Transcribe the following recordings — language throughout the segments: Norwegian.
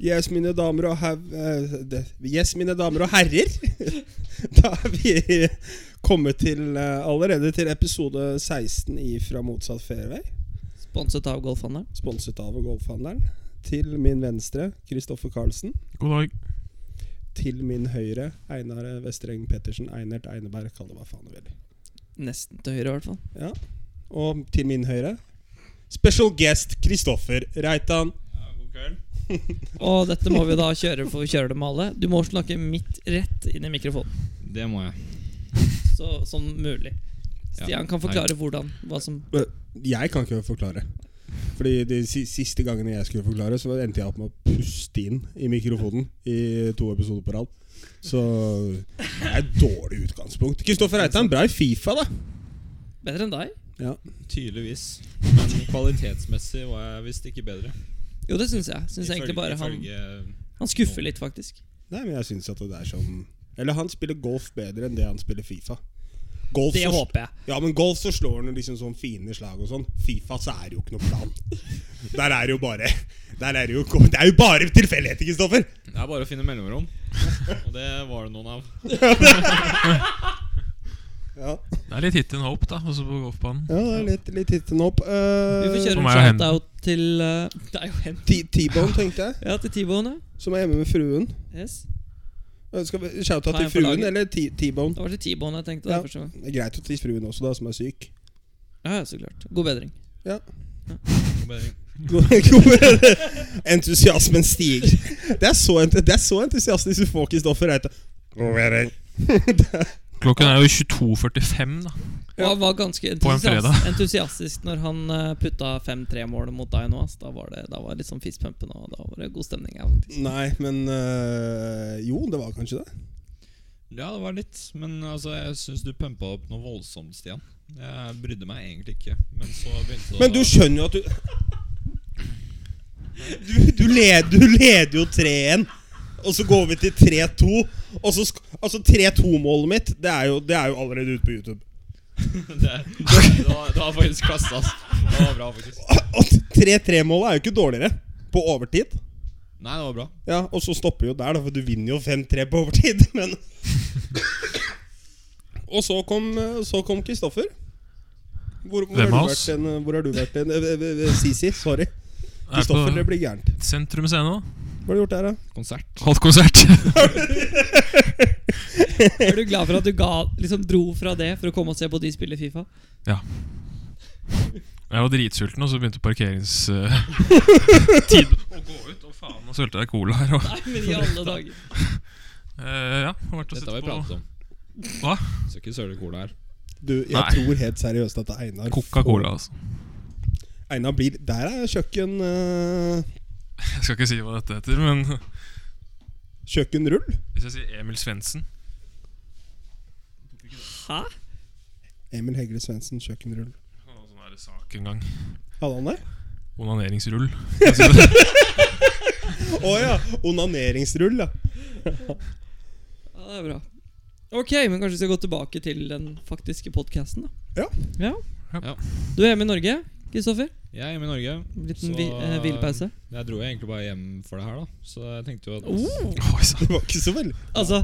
Yes, mine damer og hev... eh, det- Yes, mine damer og herrer. da er vi kommet til eh, allerede til episode 16 i Fra motsatt fairway. Sponset av Golfhandelen. Sponset av Golfhandleren. Til min venstre Kristoffer Carlsen. God dag. Til min høyre Einar Vestreng Pettersen. Einert Eineberg, kall det hva faen du vil. Nesten til høyre, i hvert fall. Ja. Og til min høyre Special guest Kristoffer Reitan. Og dette må vi da kjøre for å kjøre det med alle. Du må snakke midt rett inn i mikrofonen. Det må jeg. Så, som mulig. Ja, Stian kan forklare hvordan. Hva som Jeg kan ikke forklare. Fordi De si- siste gangene jeg skulle forklare, Så endte jeg opp med å puste inn i mikrofonen i to episoder på rad. Så det er et dårlig utgangspunkt. Kristoffer Reitan, bra i Fifa, da. Bedre enn deg? Tydeligvis. Men kvalitetsmessig var jeg visst ikke bedre. Jo, det syns jeg. Synes jeg egentlig bare han, han skuffer litt, faktisk. Nei, men jeg syns at det er sånn Eller han spiller golf bedre enn det han spiller Fifa. Golf Det så- håper jeg. Ja, men golf så slår han jo liksom sånn fine slag og sånn. Fifa så er det jo ikke noe plan. Der er det jo bare Der er det jo Det er jo bare tilfeldigheter, Kristoffer! Det er bare å finne mellomrom. Og det var det noen av. Ja. Det er litt hit and hope, da, også på golfbanen. Ja, det er litt, litt hit and hopp. Vi får For kjøre en meg og hen. shout-out til eh, Det er jo hen. T-Bone, tenkte jeg, Ja, til T-Bone, som er hjemme med fruen. ja. Yes. Eh, Skal vi shout-out Har til jeg på fruen laget? eller T- T-Bone? Det var til T-Bone jeg tenkte. Ja. Ja. første gang Det er greit å til fruen også, da, som er syk. Ja, ja, så klart. God bedring. Entusiasmen stiger. Det er så, ent det er så entusiastisk du får, Kristoffer Reite. God bedring. Klokken er jo 22.45, da. Og han var ganske På en entusiastisk, fredag. entusiastisk når han eh, putta 5-3-målet mot deg nå. ass. Da var det, da var det litt sånn fistpumpen, og da var det god stemning. Ja, faktisk. Nei, men øh, Jo, det var kanskje det. Ja, det var litt. Men altså, jeg syns du pumpa opp noe voldsomt, Stian. Jeg brydde meg egentlig ikke. Men så begynte det Men du skjønner jo at du Du, du, led, du leder jo 3-1, og så går vi til 3-2. Og så sk- Altså, 3-2-målet mitt, det er, jo, det er jo allerede ute på YouTube. det, det, var, det var faktisk klasse, ass. Det var bra, faktisk. Og 3-3-målet er jo ikke dårligere på overtid. Nei, det var bra. Ja, Og så stopper jo der, da, for du vinner jo 5-3 på overtid, men Og så kom, så kom Kristoffer. Hvor, hvor, Hvem har av du oss? vært en, hvor har du vært en eh, eh, eh, Sisi, sorry. Jeg Kristoffer, det er på blir gærent. Sentrum Scene, da. Hva har du gjort der, da? Konsert. Holdt konsert. Er du glad for at du ga, liksom dro fra det for å komme og se på de spille Fifa? Jeg var dritsulten, og så begynte parkeringstiden å gå ut. Og faen, nå sølte jeg cola her. Og, Nei, men i alle dager. Eh, ja, har vært og Dette sett har vi på pratet om. Hva? Skal ikke søle cola her. Du, jeg Nei. tror helt seriøst at Einar Coca-Cola, altså. får- Einar blir Der er kjøkken eh, Jeg skal ikke si hva dette heter, men kjøkkenrull. hvis jeg sier Emil Svendsen Hæ? Emil Hegle Svendsen, kjøkkenrull. Han hadde sånn her sak en gang. Hadde han det? Onaneringsrull. Å ja! Onaneringsrull, da. Ja, det er bra. Ok, men kanskje vi skal gå tilbake til den faktiske podkasten, da. Ja. Ja. ja. Du er hjemme i Norge, Kristoffer. Jeg er hjemme i Norge. Liten Så- vi, eh, hvilepause. Jeg dro egentlig bare hjem for det her, da. Så jeg tenkte jo at Oh, Oi sann. Det var ikke så veldig altså,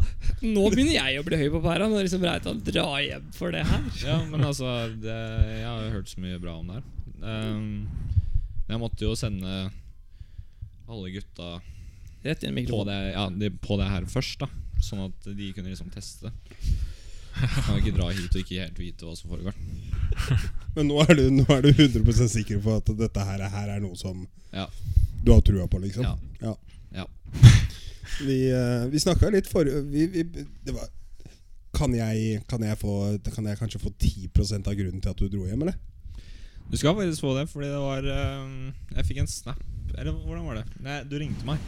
nå begynner jeg å bli høy på pæra når liksom Reitan drar hjem for det her. Ja, men altså det, Jeg har jo hørt så mye bra om det her. Ehm, jeg måtte jo sende alle gutta Rett inn i på mikrofonen. det, ja, de, på det her først, da. Sånn at de kunne liksom teste. Kan ikke dra hit og ikke helt vite hva som foregår. Men nå er, du, nå er du 100 sikker på at dette her, er- her er noe som Ja. du har trua på, liksom? Ja. Ja. Ja. Vi, eh, vi snakka litt forrige vi, vi, Det var kan jeg, kan, jeg få, kan jeg kanskje få 10 av grunnen til at du dro hjem, eller? Du skal faktisk få det, fordi det var ehm, Jeg fikk en snap. Eller hvordan var det? Nei, du ringte meg.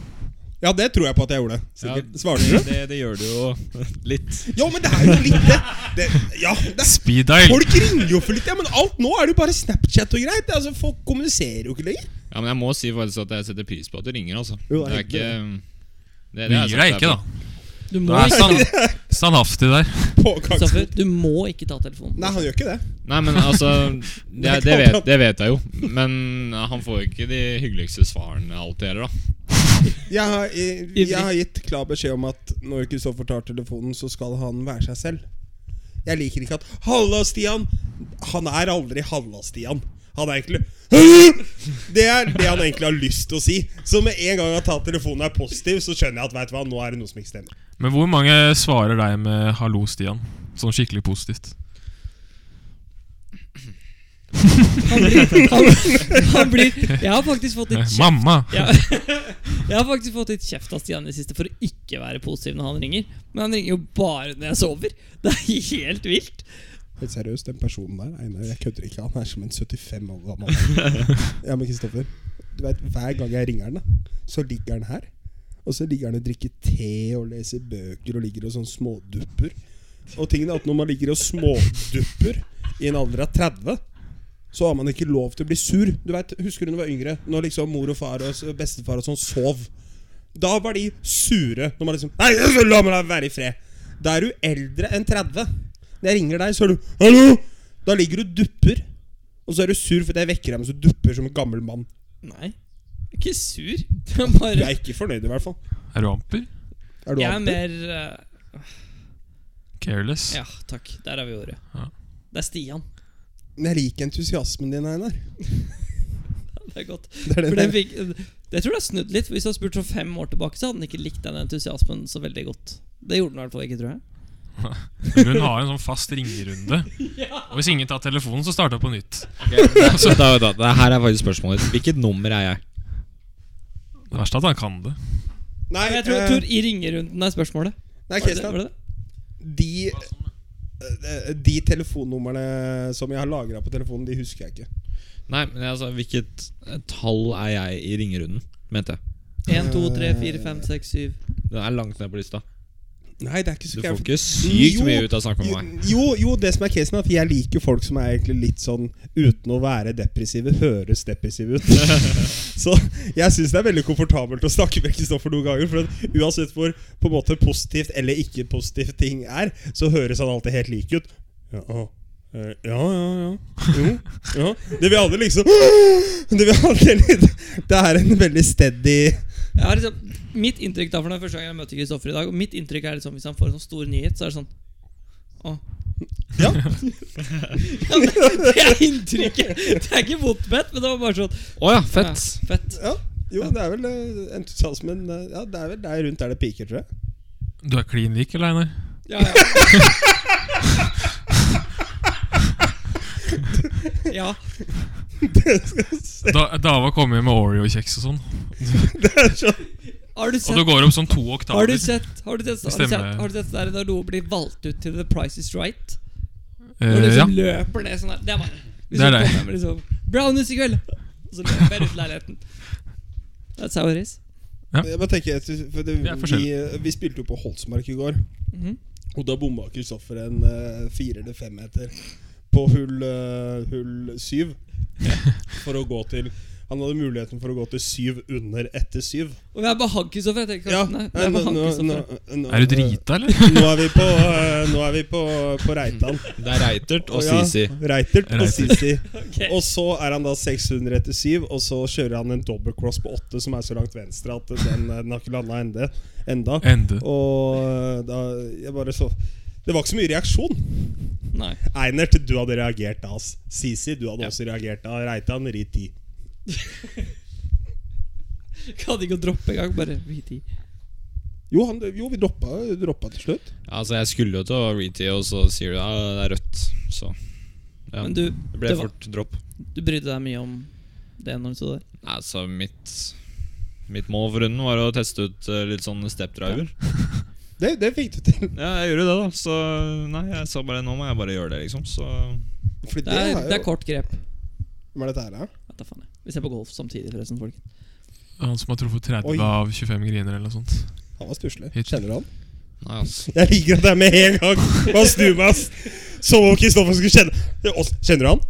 Ja, det tror jeg på at jeg gjorde. Sikkert. Svarte du? Det, det, det gjør du jo litt. Ja, men det er jo litt det, det Ja, det er Speed dial. Folk ringer jo for litt, ja, men alt nå er det jo bare Snapchat og greit. Altså, Folk kommuniserer jo ikke lenger. Ja, men jeg må si faktisk at jeg setter pris på at du ringer, altså. Jo, det er egentlig. ikke um, det, Du gir deg ikke, da. Du Du må er ikke, stand, standhaftig der. Kristoffer, Pågangsmot. du må ikke ta telefonen. Nei, han gjør ikke det. Nei, men altså Det, eh, det, vet, det vet jeg jo. Men han får jo ikke de hyggeligste svarene alltid heller, da. Jeg har, jeg, jeg har gitt klar beskjed om at når Kristoffer tar telefonen, så skal han være seg selv. Jeg liker ikke at 'Halla, Stian!' Han er aldri 'Halla, Stian'. Han er egentlig «Hæ?» Det er det han egentlig har lyst til å si. Så med en gang han tar telefonen og er positiv, så skjønner jeg at vet du hva, nå er det noe som ikke stemmer. Men hvor mange svarer deg med 'hallo, Stian'? Sånn skikkelig positivt. Han blir, han, han blir Jeg har faktisk fått litt kjeft Mamma! ja. Jeg har faktisk fått litt kjeft av Stian i det siste for å ikke være positiv når han ringer. Men han ringer jo bare når jeg sover. Det er helt vilt. Helt seriøst, den personen der Einar, Jeg kødder ikke. Han er som en 75 år gammel Ja, men Kristoffer, du vet, hver gang jeg ringer han, da, så ligger han her. Og så ligger han og drikker te og leser bøker og ligger og sånn smådupper. Og tingen er at når man ligger og smådupper i en alder av 30, så har man ikke lov til å bli sur. Du vet, Husker du da du var yngre, når liksom mor og far og s- bestefar og sånn sov? Da var de sure. Når man liksom Nei, la meg da være i fred! Da er du eldre enn 30. Når jeg ringer deg, så er du Hallo! Da ligger du og dupper. Og så er du sur fordi jeg vekker deg mens du dupper som en gammel mann. Nei, jeg er ikke sur. Jeg er, Du bare, er ikke fornøyd, i hvert fall. Er du amper? Er du jeg er amper? mer eh, Careless? Ja, takk. Der har vi ordet. Ja. Det er Stian. Men jeg liker entusiasmen din, Einar. Det er godt. Det er det For den der. fikk, jeg tror det har snudd litt. Hvis du hadde spurt for fem år tilbake, så hadde han ikke likt den entusiasmen så veldig godt. Det gjorde han i hvert fall ikke, tror jeg. Men hun har en sånn fast ringerunde. Og hvis ingen tar telefonen, så starter hun på nytt. Så altså, da, da, da, her er faktisk spørsmålet ditt. Hvilket nummer er jeg? Det verste er at han kan det. Nei, Men jeg tror, eh, tror i ringerunden er spørsmålet. nei Var det, Kristian. var det det? De, eh, de telefonnumrene som jeg har lagra på telefonen, de husker jeg ikke. Nei, men altså, hvilket eh, tall er jeg i ringerunden? Mente jeg. 1, 2, 3, 4, 5, 6, 7 Den er langt ned på lista. Nei, det er ikke Du så får gærent. ikke sykt Jo, mye ut av å snakke med Jo, meg. jo, jo, det som er casen, er at jeg liker folk som er egentlig litt sånn uten å være depressive, høres depressive ut. Så jeg syns det er veldig komfortabelt å snakke med Kristoffer noen ganger. For at uansett hvor på en måte positivt eller ikke positivt ting er, så høres han alltid helt lik ut. Ja, eh, ja, ja. ja. Jo, ja. Det vil aldri liksom Det vil aldri liksom, Det er en veldig steady Jeg har liksom, mitt inntrykk da, for det er første gang jeg møter Kristoffer i dag Og mitt inntrykk er liksom, hvis han får en sånn stor nyhet, så er det sånn Å, Ja. det er inntrykket! Det er ikke vondt ment, men det var bare sånn Å ja, fett. Ja, fett. ja. Jo, det er vel eh, entusiasmen eh, Ja, det er vel der rundt der det piker, tror jeg. Du er klin lik, eller, Einar? Ja, ja. ja. Da, Dava kom hjem med Oreo-kjeks og sånn. Har du Og du sett går opp sånn to har du oktaver. sett Har du sett Har du sett, Stemmer. har du sett det der når noe blir valgt ut til The Price is Right? Når du Eh, ja. liksom løper ned sånn her. Det er meg. Hvis Det er du deg. kommer hjem, Liksom, Brownies i kveld! Og så løper jeg rundt leiligheten. That's how it is. Ja. Jeg bare tenker jeg synes- for det, Vi er vi, forskjellige. vi spilte jo på Holsmark i går, Mhm. og da bomma Kristoffer en eh, fire eller fem meter på hull, eh, hull syv. For å gå til Han hadde muligheten for å gå til syv under etter syv. Og jeg er bare hank, Kristoffer. Jeg tenker, Karsten, nei, jeg er nå, bare hank, nå, nå, Kristoffer. nå- Er du drita, eller? Nå er vi på, eh, nå er vi på, på Reitan. Det er Reitert og Ja, Sisi. Reitert og Reitert. Sisi. Ok. Og så er han da 600 etter 7, og så kjører han en double cross på 8, som er så langt venstre at den, eh, den har ikke landa ende, enda. Ende. Og eh, da Jeg bare så Det var ikke så mye reaksjon. Nei. Einert, du hadde reagert da. ass. Sisi, du hadde Ja. også reagert da. Reitan, ri ti. Kan ikke å droppe engang. Bare hit i. Jo, han, jo, vi droppa, droppa til slutt. Altså, jeg skulle jo til å retee, og så sier du ja, det er rødt. Så ja. Men du, det det ble var- fort dropp. du brydde deg mye om det når du så det? Altså, mitt Mitt mål for runden var å teste ut eh, litt sånn stepdriver. Det, det fikk du til. Ja, jeg gjorde det, da. Så nei, jeg sa bare nå må jeg bare gjøre det, liksom. Så Fordi Det er, det er kort grep. Hva er dette her, da? Vet da faen jeg. Vi ser på golf samtidig, forresten, folk. Han som har truffet 30 Oi. av 25 griner, eller noe sånt. Han var stusslig. Hit. Kjenner du han? nei, altså. Jeg liker at det er med en gang. Man snur meg, ass. Som om Kristoffer skulle kjenne Ås, Kjenner du han?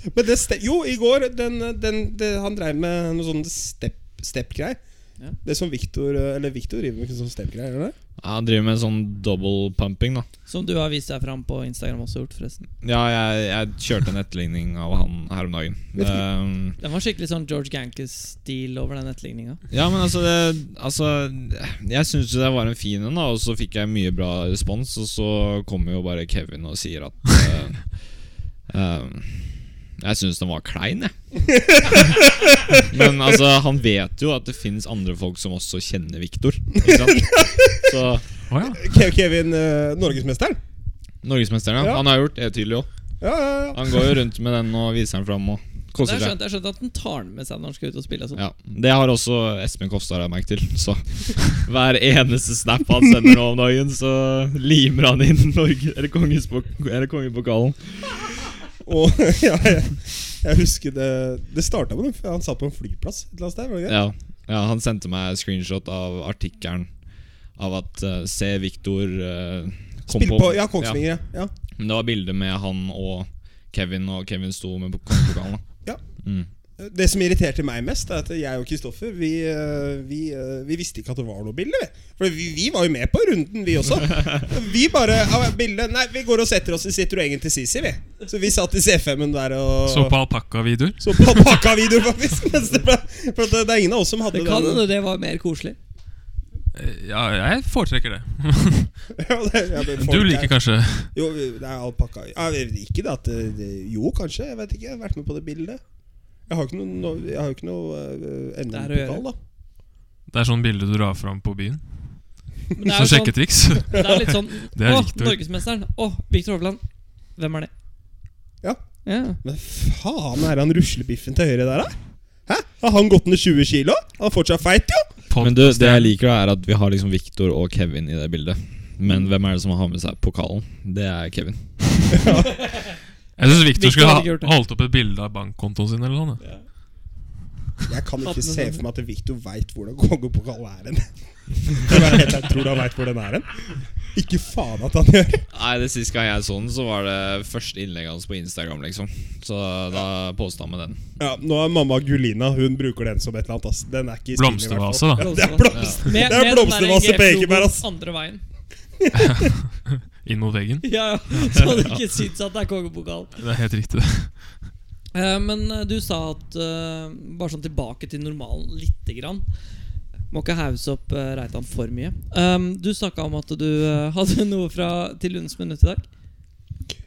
Men det ste jo, i går den, den, det, Han dreiv med noe sånn step- step-greier. Ja. Det som Victor, eh, eller Victor driver med sånn stemgreier, eller? Ja, Han driver med sånn double pumping, da. Som du har vist deg fram på Instagram også, gjort forresten. Ja, jeg, jeg kjørte en etterligning av han her om dagen. Vet Ehm, Den var skikkelig sånn George Gankes-stil over den etterligninga. ja, men altså, det, altså Jeg syns jo det var en fin en, da, og så fikk jeg mye bra respons. Og så kommer jo bare Kevin og sier at eh, ehm, Jeg syns den var klein, jeg. men altså, han vet jo at det fins andre folk som også kjenner Viktor. Så Å ja. Ke- Kevin, eh, norgesmesteren? Norgesmesteren, ja. Ja. Han har gjort det tydelig òg. Ja, ja, ja. Han går jo rundt med den og viser den fram og Det koser er seg. skjønt, det er skjønt at den tar den med seg når den skal ut og spille. og sånn. sånt. Ja, Det har også Espen Kofstad lagt merke til. Så hver eneste snap han sender nå om dagen, så limer han inn Norge eller, kongespok, eller kongepokalen. Og ja, jeg, jeg husker det Det starta med det. Han satt på en flyplass et eller annet sted. var det ikke? Ja, ja, Han sendte meg screenshot av artikkelen av at eh, Se Viktor eh, kom Spill på, ja, Kongsvinger. Ja. Ja. Ja, men det var bilde med han og Kevin, og Kevin sto med po- kongepokalen. da. Ja. Mm. Det som irriterte meg mest, er at jeg og Kristoffer Vi, eh, vi, eh, vi visste ikke at det var noe bilde. vi. For vi, vi var jo med på runden, vi også. Vi bare ja, bilde, Nei, vi går og setter oss i Citroën til Sisi, vi. Så vi satt i C5-en der og Så på alpakkavideoer. så på pakkavideo, faktisk. mens det ble- For det, det er ingen av oss som hadde Det kan den. hende det var mer koselig. Eh, Ja, jeg foretrekker det. Ja, det, ja, det, folk Du er- liker kanskje Jo, det er alpakka ja, jeg vet Ikke det at det, det, Jo, kanskje. Jeg vet ikke. Jeg har vært med på det bildet. Jeg har jo ikke noe, no- jeg har jo ikke noe eh, Det er å NM-pokal, da. Det er sånn bilde du drar fram på byen. Men det er, Som jo sånn, sjekketriks. det er litt sånn Det er Å, Victor. Norgesmesteren! Å, Viktor Hovland! Hvem er det? Ja. ja. Men faen, er han ruslebiffen til høyre der, da? Hæ? Har han gått ned 20 kilo? Han er fortsatt feit, jo! Men du, det jeg liker, da, er at vi har liksom Viktor og Kevin i det bildet. Men hvem er det som har med seg pokalen? Det er Kevin. Jeg syns Victor Victor skulle hadde ikke gjort det. ha holdt opp et bilde av bankkontoen sin. eller noe sånt. Jeg kan Hatten ikke og se sånn. for meg at Victor veit hvordan kongepokal er hen. Skal være helt ærlig, Tror du han veit hvor den er hen? Ikke faen at han gjør. Nei, det Sist gang jeg så den, så var det første innlegget hans på Instagram. liksom Så da posta han med den. Ja, Nå er mamma Gulina Hun bruker den som et eller annet. ass. Den er ikke i stilen, i hvert fall. Blomstervase, da. Ja, det er blomst- det Med- er med den der blomstervase på GF-logoen Ekeberg, ass. Andre veien. Inn mot veggen. Ja, ja. Så det ikke syns at det er kongepokal. Det er helt riktig. Eh, Men eh, du sa at eh, Bare sånn tilbake til normalen lite grann. Må ikke hause opp eh, Reitan for mye. Um, du snakka om at du eh, hadde noe fra til Lunds minutt i dag.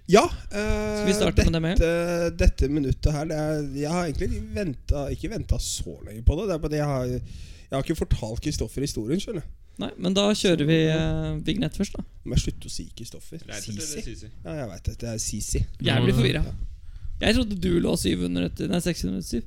Ja. eh, Skal vi starte med det med? dette, dette minuttet her det er, Jeg har egentlig venta, ikke venta så lenge på det. Det er bare det jeg har Jeg har ikke fortalt Kristoffer historien, skjønner du. Nei, men da kjører vi eh, vignett først, da. Må jeg slutte å si Kristoffer? Sisi? Ja, jeg veit det. Det er Sisi. Jeg blir forvirra. Ja. Jeg trodde du lå 700 etter Nei, 607.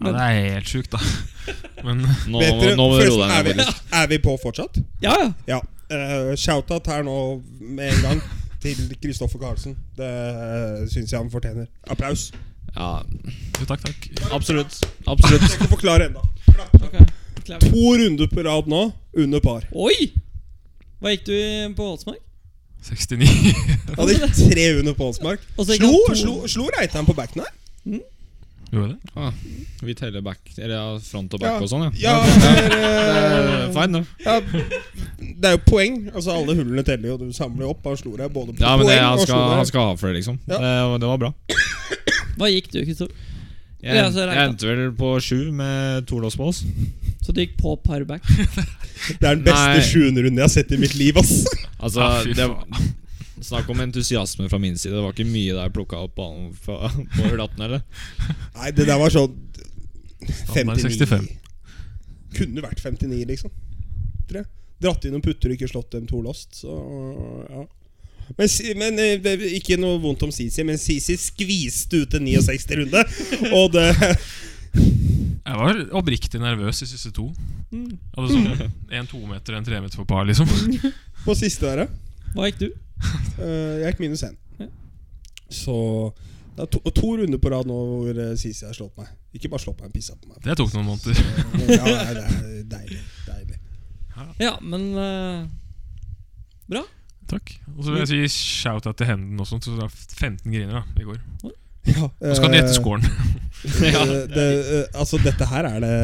Ja, det er helt sjukt, da. Men Nå, Vet må- dere, nå må du forresten, roe er, deg vi, ned. er vi på fortsatt? Ja, ja! Ja. eh, Shout-out her nå med en gang til Kristoffer Karlsen. Det uh, syns jeg han fortjener. Applaus. Ja, jo, takk, takk. absolutt. Absolutt. Jeg kan forklare ennå. Ok, klar. To runder på rad nå under par. Oi! Hva gikk du i på Holsmark? 69. Jeg hadde tre under på Holsmark. Og så gikk Slo, han Altså, to- slo, slo Reitan på backen her? Gjorde det? Ah, vi teller back Eller ja, front og back og sånn, ja. Ja, det er, Eh, eh, Fine, da. ja, det er jo poeng. Altså Alle hullene teller jo. Du samler jo opp. Han slo deg både på Ja, men poeng det, han, og slo skal, han deg. skal ha for det, liksom. Ja. Eh, og det var bra. Hva gikk du, Kristoffer? Jeg, Ja, så er det jeg greit, endte vel på sju med to lost balls. Så du gikk på parback? Det er den Nei. beste sjuende runden jeg har sett i mitt liv. ass Altså, Ja, fy det var- Snakk om entusiasme fra min side. Det var ikke mye der jeg plukka opp ballen fra, på hull 18, eller? Nei, det der var sånn Standard 59. 65. Kunne vært 59, liksom. Tror jeg. Dratt inn noen putter og ikke slått dem to lost, så ja. Men, Si- men eh, det, er Ikke noe vondt om Sisi, men Sisi skviste ut en 69-runde. Og det Jeg var oppriktig nervøs i siste to. Hadde sånn en tometer, en tremeter på par, liksom. på siste der, ja. Hva gikk du? Eh, jeg gikk minus én. Ja. Så det er to, to runder på rad nå hvor eh, Sisi har slått meg. Ikke bare slått meg, men pissa på meg. Det tok noen måneder. Ja, nei, det er deilig. deilig. Ja, men eh, Bra. Takk. Og så vil jeg si shout-out til Henden også, så det var 15 griner da, i går. Ja, Og så kan du gjette eh, scoren. Eh, det, eh, altså, dette her er det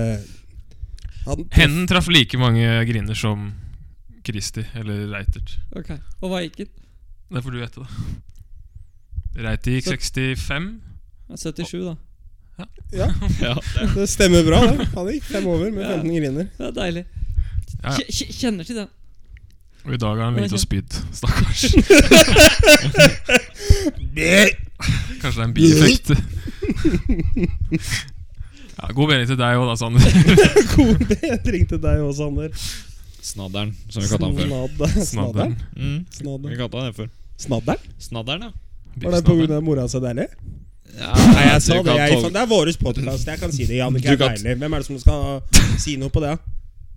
Han Henden traff like mange griner som Kristi eller Reitert. Ok, Og hva gikk den? Det får du gjette, da. Reiti gikk Så- 65. Ja, 77, da. Ja, Det stemmer bra, det. Han gikk fem over med 15 griner. Det er deilig. Ja, ja. Kje- kje- Kjenner til den. Og i dag har han begynt å spyd. Stakkars. Kanskje det er en bieffekt. Ja, god mening til deg òg, da, Sander. God bedring til deg også, Sander. Snadderen, som vi kalte han før. Snadder. Snadderen? Snadderen. Mm, vi Snadderen? kalte han det før. Snadderen? Snadderen, ja. Var det pga. mora hans deilig? ja Nei, jeg sa det. du kan Jeg, tol- det er vår podkast. Jeg kan si det. Jannicke Du er kan- deilig. Hvem er det som skal si noe på det? da?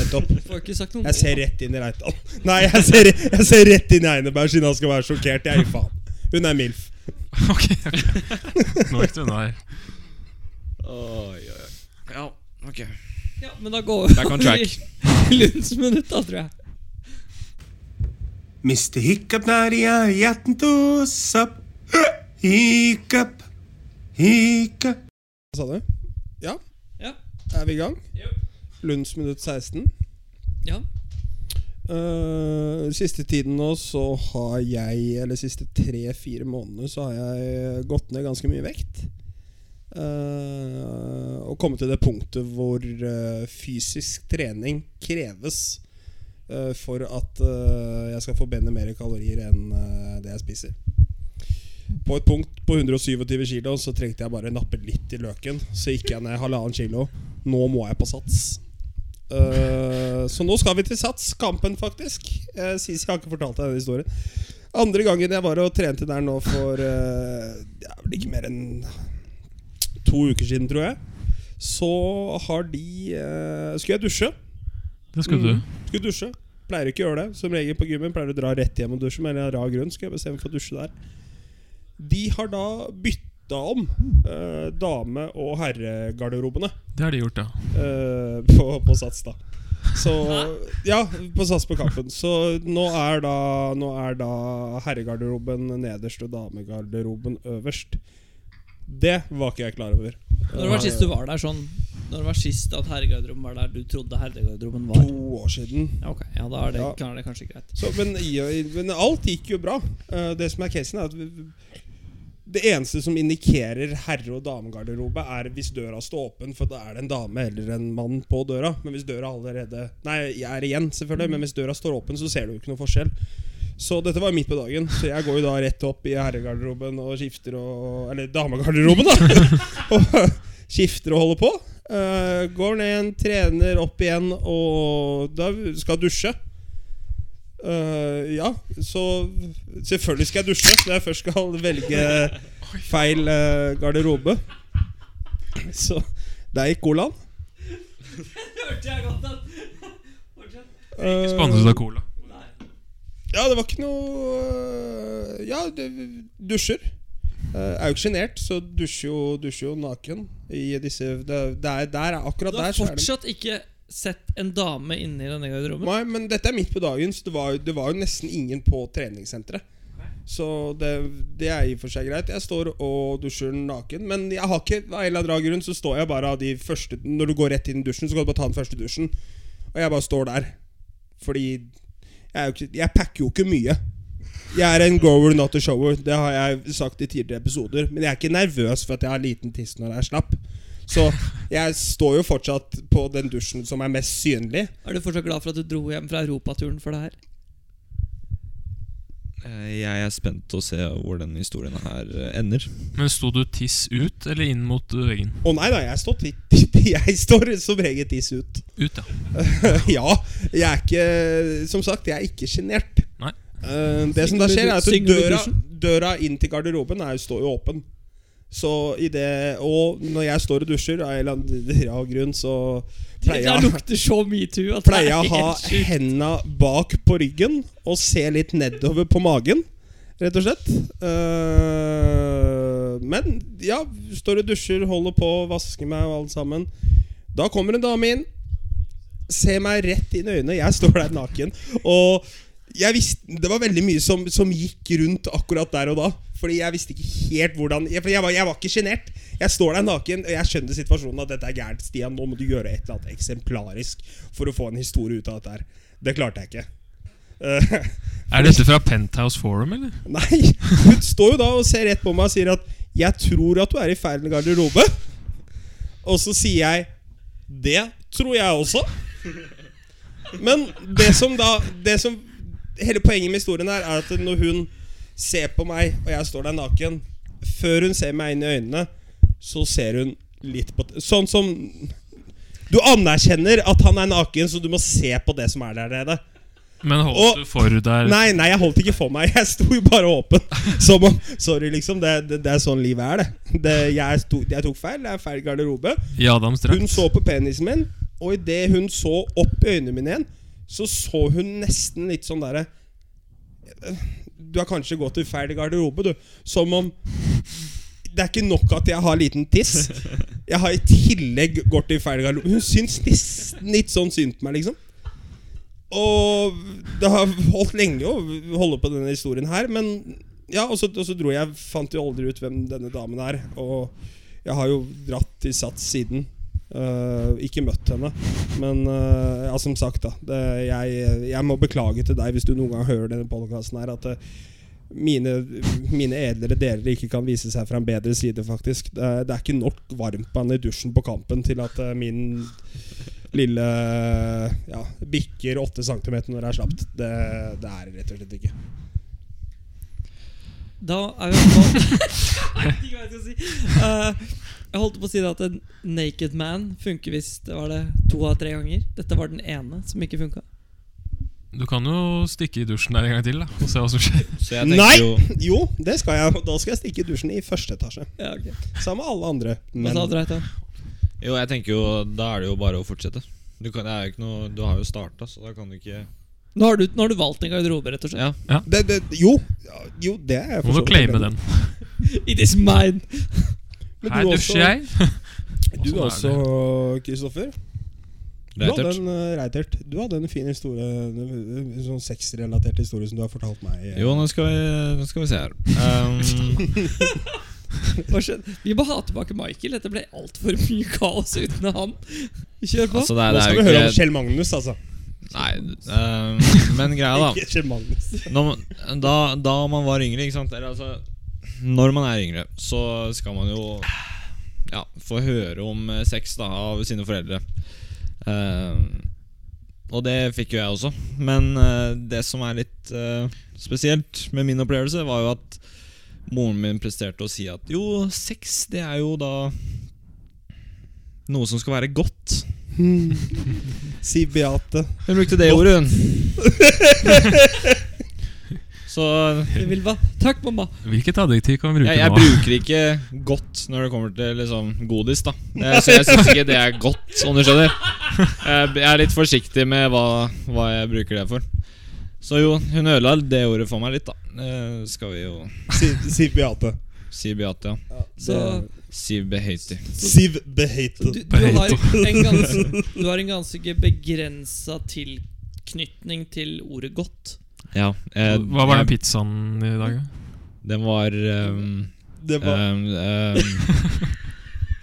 Nettopp. Får ikke sagt noe Jeg ser rett inn i Reitan. Nei, jeg ser, jeg ser rett inn i Eineberg siden han skal være sjokkert. Jeg gir faen. Hun er MILF. Ok, ok. Nå gikk du unna her. Oi, oi, oi. Ja, ok. Ja, men da går vi Back on over i track. Lunds minutt, da, tror jeg. Mr. Hiccup Nadia, hjerten tos opp. Hiccup, hiccup. Hva sa du? Ja, Ja. er vi i gang? Lunds minutt 16. ja. Eh, siste tiden nå så har jeg Eller siste tre-fire månedene så har jeg gått ned ganske mye vekt. Eh, og kommet til det punktet hvor eh, fysisk trening kreves eh, for at eh, jeg skal forbrenne mer kalorier enn eh, det jeg spiser. På et punkt på 127 kilo så trengte jeg bare nappe litt i løken. Så gikk jeg ned halvannen kilo. Nå må jeg på sats. Eh, så nå skal vi til Sats, kampen faktisk. Uh, Sisi har ikke fortalt deg den historien. Andre gangen jeg var og trente der nå for eh, Det er vel ikke mer enn to uker siden, tror jeg. Så har de eh, Skulle jeg dusje? Det skulle du. Skulle dusje. Pleier ikke å gjøre det. Som regel på gymmen pleier du å dra rett hjem og dusje, men av en rar grunn skal jeg bestemme for å dusje der. De har da bytta om eh, dame- og herregarderobene. Det har de gjort, ja. Eh, på, på Sats, da. Så Ja, på Sats på Kampen. Så nå er da, nå er da herregarderoben nederst og damegarderoben øverst. Det var ikke jeg klar over. Eh, Når var sist du var der sånn Når var sist at herregarderoben var der du trodde herregarderoben var? To år siden. Ja, ok, ja da er det, Ja. kan- er det kanskje greit. Så, men, i- i- men alt gikk jo bra. Eh, det som er casen, er at vi- vi- det eneste som indikerer herre- og damegarderobe, er hvis døra står åpen, for da er det en dame eller en mann på døra. Men hvis døra allerede Nei, jeg er igjen, selvfølgelig, men hvis døra står åpen, så ser du jo ikke noe forskjell. Så dette var midt på dagen, så jeg går jo da rett opp i herregarderoben og skifter og Eller damegarderoben, da! og skifter og holder på. Eh, går ned, trener opp igjen, og da skal jeg dusje. Eh, ja, så selvfølgelig skal jeg dusje når jeg først skal velge feil eh, garderobe. Så der gikk colaen. Hørte jeg godt at Eh, Spanset av cola. ja, det var ikke noe eh, Ja, det, dusjer. Eh, er jo ikke sjenert, så dusjer jo, dusjer jo naken i disse det, det er, Der er akkurat Du har der. så er det- fortsatt ikke sett en dame inni denne garderoben? Nei, men dette er midt på dagen, så det var, det var jo nesten ingen på treningssenteret. Så det, det er i og for seg greit. Jeg står og dusjer naken, men jeg har ikke av en eller annen rar grunn så står jeg bare av de første Når du går rett inn i dusjen, så kan du bare ta den første dusjen. Og jeg bare står der. Fordi jeg, er jo ikke, jeg packer jo ikke mye. Jeg er en grower, not a shower. Det har jeg sagt i tidligere episoder. Men jeg er ikke nervøs for at jeg har liten tiss når jeg er slapp. Så jeg står jo fortsatt på den dusjen som er mest synlig. Er du fortsatt glad for at du dro hjem fra europaturen for det her? Eh, Jeg er spent til å se hvor den historien her eh, ender. Men sto du tiss ut eller inn mot uh, veggen? Å nei da, jeg står, ti- ti- jeg står som regel tiss ut. Ut, ja. ja, jeg er ikke Som sagt, jeg er ikke sjenert. Nei. Eh, det som da Synger du- skjer, er at synger du i døra, dusjen? døra inn til garderoben er, står jo åpen. Så i det Og når jeg står og dusjer, av en eller annen rar grunn, så Det pleier der jeg lukter så metoo at pleier jeg å ha helt sjukt. henda bak på ryggen og se litt nedover på magen, rett og slett. Eh, men ja, står og dusjer, holder på, vasker meg og alt sammen. Da kommer en dame inn, ser meg rett inn i øynene. Jeg står der naken. Og jeg visste, det var veldig mye som, som gikk rundt akkurat der og da. Fordi jeg visste ikke helt hvordan Jeg, for jeg, var, jeg var ikke sjenert. Jeg står der naken, og jeg skjønner situasjonen at dette er gærent, Stian. Nå må du gjøre et eller annet eksemplarisk for å få en historie ut av dette her. Det klarte jeg ikke. Eh, Er dette fra Penthouse Forum, eller? nei. Hun står jo da og ser rett på meg og sier at 'jeg tror at du er i feil garderobe'. Og så sier jeg 'det tror jeg også'. Men det som da det som, Hele poenget med historien her er at når hun ser på meg, og jeg står der naken Før hun ser meg inn i øynene, så ser hun litt på t- Sånn som Du anerkjenner at han er naken, så du må se på det som er der nede. Men Og- holdt du for der Nei, nei, jeg holdt ikke for meg. Jeg sto jo bare åpen. Som om Sorry, liksom. Det, det, det er sånn livet er, det. det jeg, sto, jeg tok feil. Det er feil garderobe. i Adams Hun drakt? så på penisen min, og idet hun så opp i øynene mine igjen, så så hun nesten litt sånn derre Du har kanskje gått i feil garderobe, du. Som om Det er ikke nok at jeg har liten tiss. Jeg har i tillegg gått i feil garderobe. Hun syns nesten litt sånn synd på meg, liksom. Og det har holdt lenge å holde på denne historien her, men ja, og så, og så dro jeg Fant jo aldri ut hvem denne damen er. Og jeg har jo dratt til Sats siden. Eh, ikke møtt henne, men eh, ja, som sagt, da. Det, jeg, jeg må beklage til deg hvis du noen gang hører denne podkasten her, at eh, mine, mine edlere deler ikke kan vise seg fra en bedre side, faktisk. Det, er- det er ikke nok varmtvann i dusjen på kampen til at eh, min lille ja, bikker åtte centimeter når det er slapt. Det, det er det rett og slett ikke. Da er vi på Jeg vet ikke hva jeg skal si. Eh, jeg holdt på å si det at en naked man funker hvis det var det to av tre ganger. Dette var den ene som ikke funka. Du kan jo stikke i dusjen der en gang til da og se hva som skjer. Så jeg Nei! tenker jo Jo, det skal jeg. og Da skal jeg stikke i dusjen i første etasje. Ja, ok. Sammen med alle andre. Hva Men sa du, Reitan? Jo, jeg tenker jo Da er det jo bare å fortsette. Du, kan, det er jo ikke noe, du har jo starta, så da kan du ikke Nå har du, nå har du valgt en garderobe, rett og slett. Ja. det, det, jo, ja, jo, det er jeg Må du så vidt claime enig i. den. It is mine! Men Her du dusjer også- jeg. Du Sånn er også, Kristoffer. Du, hadde Reitert. en, eh, Reitert, du hadde en fin historie, en sånn sexrelatert historie som du har fortalt meg. eh. Jo, nå skal vi, nå skal vi se her. Ehm, Hva skjøn- Vi må ha tilbake Michael. Dette ble altfor mye kaos uten han. Kjør på. altså, det, er- Nå skal vi det er høre jo om ikke Kjell Magnus, altså. Nei, ehm, men greia, da. Ikke Kjell Magnus. Når man, da, da man var yngre, ikke sant Eller altså Når man er yngre, så skal man jo Ja, få høre om eh, sex da av sine foreldre. Eh, og det fikk jo jeg også. Men eh, det som er litt eh, spesielt med min opplevelse, var jo at moren min presterte å si at jo, sex det er jo da noe som skal være godt. Si Beate. Hun brukte det ordet, hun. Så Det vil va- Takk, mamma. Hvilket adjektiv kan vi bruke jeg, jeg nå? bruker ikke godt når det kommer til liksom, godis, da. Jeg, så jeg syns ikke det er godt, om du skjønner. Jeg, jeg er litt forsiktig med hva, hva jeg bruker det for. Så jo, hun ødela det ordet for meg litt, da. Eh, skal vi jo Si, si Beate. si Beate, ja. Så, Si Behati. Siv så Behate. du, du, har en ganske, du har en ganske begrensa tilknytning til ordet godt. Ja. eh, Hva var den jeg- pizzaen i dag? da? Den var ehm, Det var, ehm, ehm,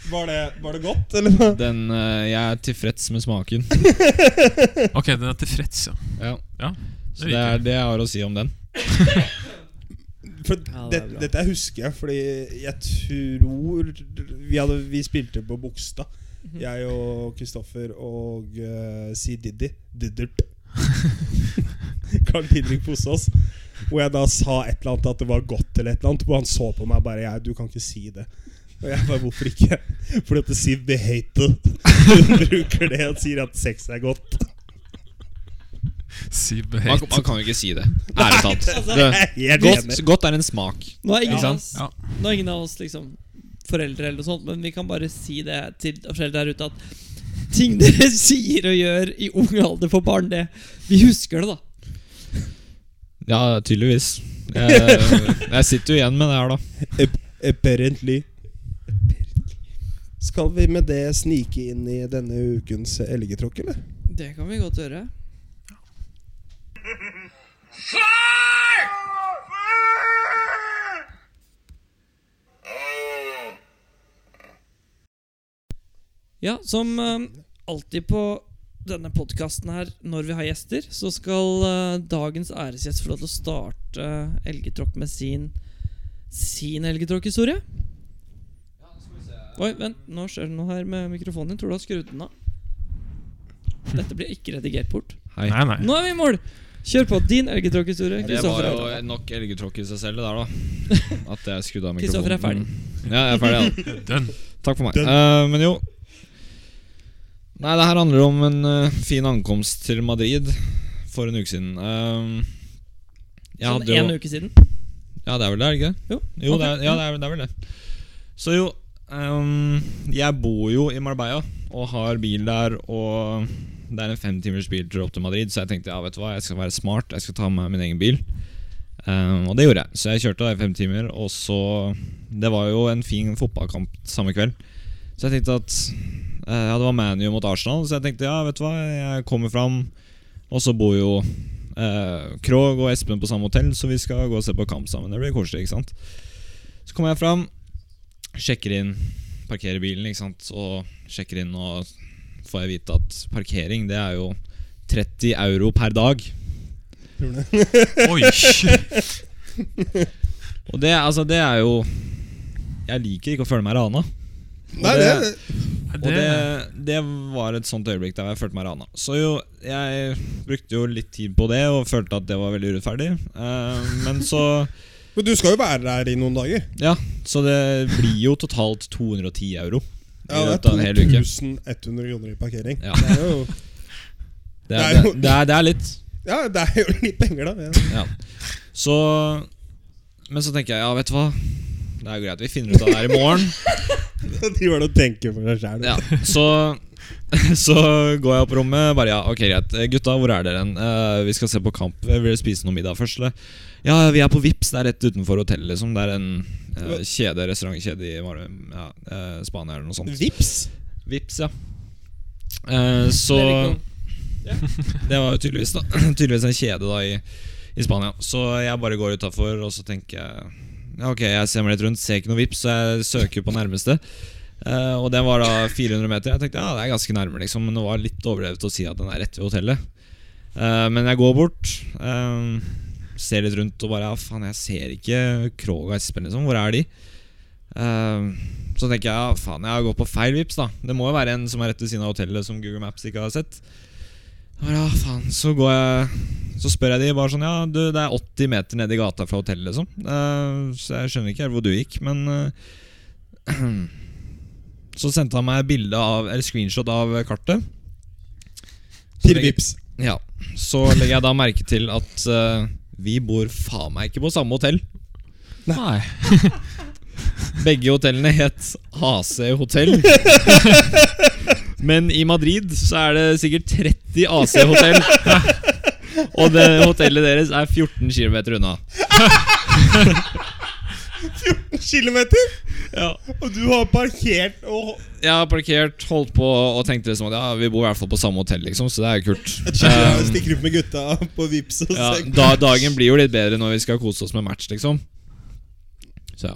var, det, var det godt, eller? hva? Den eh, Jeg er tilfreds med smaken. Ok, den er tilfreds, ja. Ja. Ja, Så det er det jeg har å si om den. For Ja, det det, er bra. dette husker jeg, fordi jeg tror Vi, hadde, vi spilte på Bogstad. Mhm. Jeg og Kristoffer og eh, si Diddy. Diddert. Carl Didrik Posås. Hvor jeg da sa et eller annet at det var godt, eller et eller annet. Hvor han så på meg bare jeg, 'Du kan ikke si det'. Og jeg bare 'Hvorfor ikke?' Fordi at Siv Behated bruker det og sier at sex er godt. Siv Man, Behate. man kan jo ikke si det. Ærlig talt. Det- Altså, Jeg er Godt, enig. godt er en smak. Nå er ingen Ja. av oss, Ja. nå er ingen av oss liksom foreldre, eller noe sånt men vi kan bare si det til foreldre der ute at ting dere sier og gjør i ung alder for barn, det Vi husker det, da. Ja, tydeligvis. Jeg, jeg sitter jo igjen med det her, da. Ap- Apparently. Skal vi med det snike inn i denne ukens elgetråkk, eller? Det kan vi godt gjøre. Oh. Ja, som eh, alltid på denne podkasten her, når vi har gjester, så skal eh, dagens æresgjest få lov til å starte uh, Elgetråkk med sin sin elgetråkkhistorie. Oi, vent, nå skjer det noe her med mikrofonen din. Tror du har skrudd den av? Dette blir ikke redigert bort. Hei. Nei, nei. Nå er vi i mål! Kjør på. Din elgetråkkhistorie. Det var Kristoffer jo er- nok elgetråkk i seg selv, det der, da. At jeg skrudde av mikrofonen. Kristoffer er ferdig. Ja, jeg er ferdig, ja. Dønn. Takk for meg. Eh, men jo Nei, det her handler om en eh, fin ankomst til Madrid for en uke siden. Eh, jeg Sånn hadde jo- en uke siden. Ja, det er vel det, er det ikke? det? Jo, Jo, ok. det er, ja, det er, det er vel det. Så jo ehm, Jeg bor jo i Marbella og har bil der. Og det er en femtimers biltur opp til Madrid, så jeg tenkte ja, vet du hva, jeg skal være smart. Jeg skal ta med meg min egen bil. Ehm, og det gjorde jeg. Så jeg kjørte da i fem timer, og så Det var jo en fin fotballkamp samme kveld. Så jeg tenkte at eh, Ja, det var ManU mot Arsenal, så jeg tenkte ja, vet du hva, jeg kommer fram. Og så bor jo eh, Krog og Espen på samme hotell, så vi skal gå og se på kamp sammen. Det blir koselig, ikke sant? Så kommer jeg fram, sjekker inn, parkerer bilen, ikke sant? og sjekker inn, og får jeg vite at parkering det er jo 30 euro per dag. Oi! Og det, altså, det er jo Jeg liker ikke å føle meg rana. Nei, det, Nei, Og det, det var et sånt øyeblikk der jeg følte meg rana. Så jo, jeg brukte jo litt tid på det og følte at det var veldig urettferdig. Eh, men så men du skal jo være der i noen dager. Ja, så det blir jo totalt 210 euro. i Ja, løpet av en det hel er uke. 2100 kroner i parkering. Ja. Det, er jo, Det Det er, er jo- det, er, det er litt. ja, det er jo litt penger, da. Ja. Ja. Så Men så tenker jeg, ja, vet du hva. Det er greit, vi finner ut av det her i morgen. De var det å tenke for seg sjæl. Ja, så, så går jeg opp på rommet. Bare ja, ok, greit. Eh, Gutta, hvor er dere? hen? Eh, vi skal se på kamp. Vi vil spise noe middag først. Eller? Ja, vi er på Vips. Det er rett utenfor hotellet. Liksom. Det er en eh, kjede, restaurantkjede i Mar ja, eh, Spania eller noe sånt. Vips! Vips, ja. Eh, så Det er sånn ikke noe. Det var jo tydeligvis, da, tydeligvis en kjede da i, i Spania. Så jeg bare går utafor og så tenker jeg ja, Ok, jeg ser meg litt rundt, ser ikke noe vips, så jeg søker på nærmeste. Eh, og den var da 400 meter. Jeg tenkte ja, det er ganske nærme, liksom. Men det var litt overdrevet å si at den er rett ved hotellet. Eh, men jeg går bort, eh, ser litt rundt og bare ja, faen, jeg ser ikke Krog og Espen, liksom. Hvor er de? Eh, så tenker jeg ja, faen, jeg har gått på feil vips, da. Det må jo være en som er rett ved siden av hotellet, som Google Maps ikke har sett. Jeg bare, Ja, faen, så går jeg Så spør jeg de bare sånn Ja, du, det er 80 meter nede i gata fra hotellet liksom Eh, Så jeg skjønner ikke helt hvor du gikk Men eh, Så sendte han meg bilde av Eller screenshot av kartet Så Til legger- Vips. Ja Så legger jeg da merke til at eh, Vi bor faen meg ikke på samme hotell Nei. Begge hotellene het AC Hotell Men i Madrid så er det sikkert 30 AC Hotell Og det hotellet deres er 14 kilometer unna Kilometer! Ja. Og du har parkert og Jeg har parkert, holdt på og tenkte liksom at ja, vi bor i hvert fall på samme hotell liksom Så det er jo kult Jeg Um, stikker ut med gutta på Vips og ja, ser- da, Dagen blir jo litt bedre når vi skal kose oss med match liksom Så ja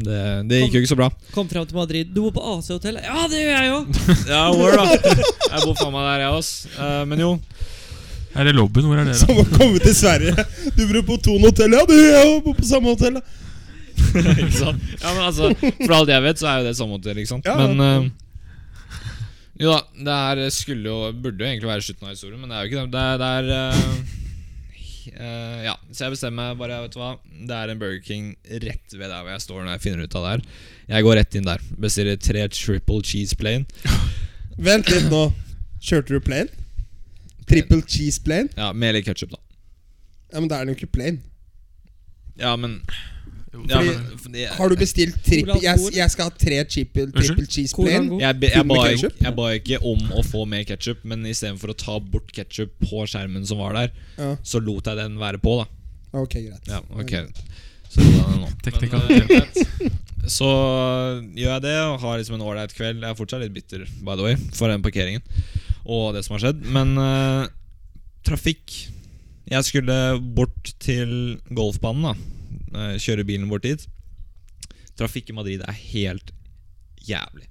det, det gikk jo ikke så bra Kom fram til Madrid. Du bor på AC-hotellet? Ja, det gjør jeg òg! Ja, word da Jeg bor faen meg der jeg også Eh, Men jo Er det lobbyen? Hvor er dere? Som å komme til Sverige. Du bor på Thon hotell. Ja, du jeg bor på samme hotell. da. Ikke sant? Ja, men altså, For alt jeg vet, så er jo det samme hotell, ikke sant? Ja, ja. Men eh, Jo da, det her skulle jo Burde jo egentlig være slutten av historien, men det er jo ikke det. Det er, det er eh, eh, Ja, så jeg bestemmer meg bare, vet du hva. Det er en Burger King rett ved der hvor jeg står når jeg finner ut av det her. Jeg går rett inn der. Bestiller tre triple cheese plane. Vent litt nå. Kjørte du plane? Triple cheese plane? Ja, Med litt ketsjup, da. Ja, Men da er den jo ikke plane. Ja, men Jo, ja, fordi- men, fordi jeg, Har du bestilt triple Cola, jeg, Cola. jeg skal ha tre triple, triple cheese Cola, plane. Cola. jeg, be- jeg, Kun med ba, ketchup? jeg ba ikke om å få mer ketsjup, men istedenfor å ta bort ketsjup på skjermen som var der, Ja. så lot jeg den være på, da. Ok, greit. Ja, ok Så roer jeg ned nå. Teknikal- Men, eh, Så gjør jeg det og har liksom en ålreit kveld. Jeg er fortsatt litt bitter by the way for den parkeringen og det som har skjedd. Men eh, trafikk Jeg skulle bort til golfbanen. da Eh, Kjøre bilen bort dit. Trafikk i Madrid er helt jævlig.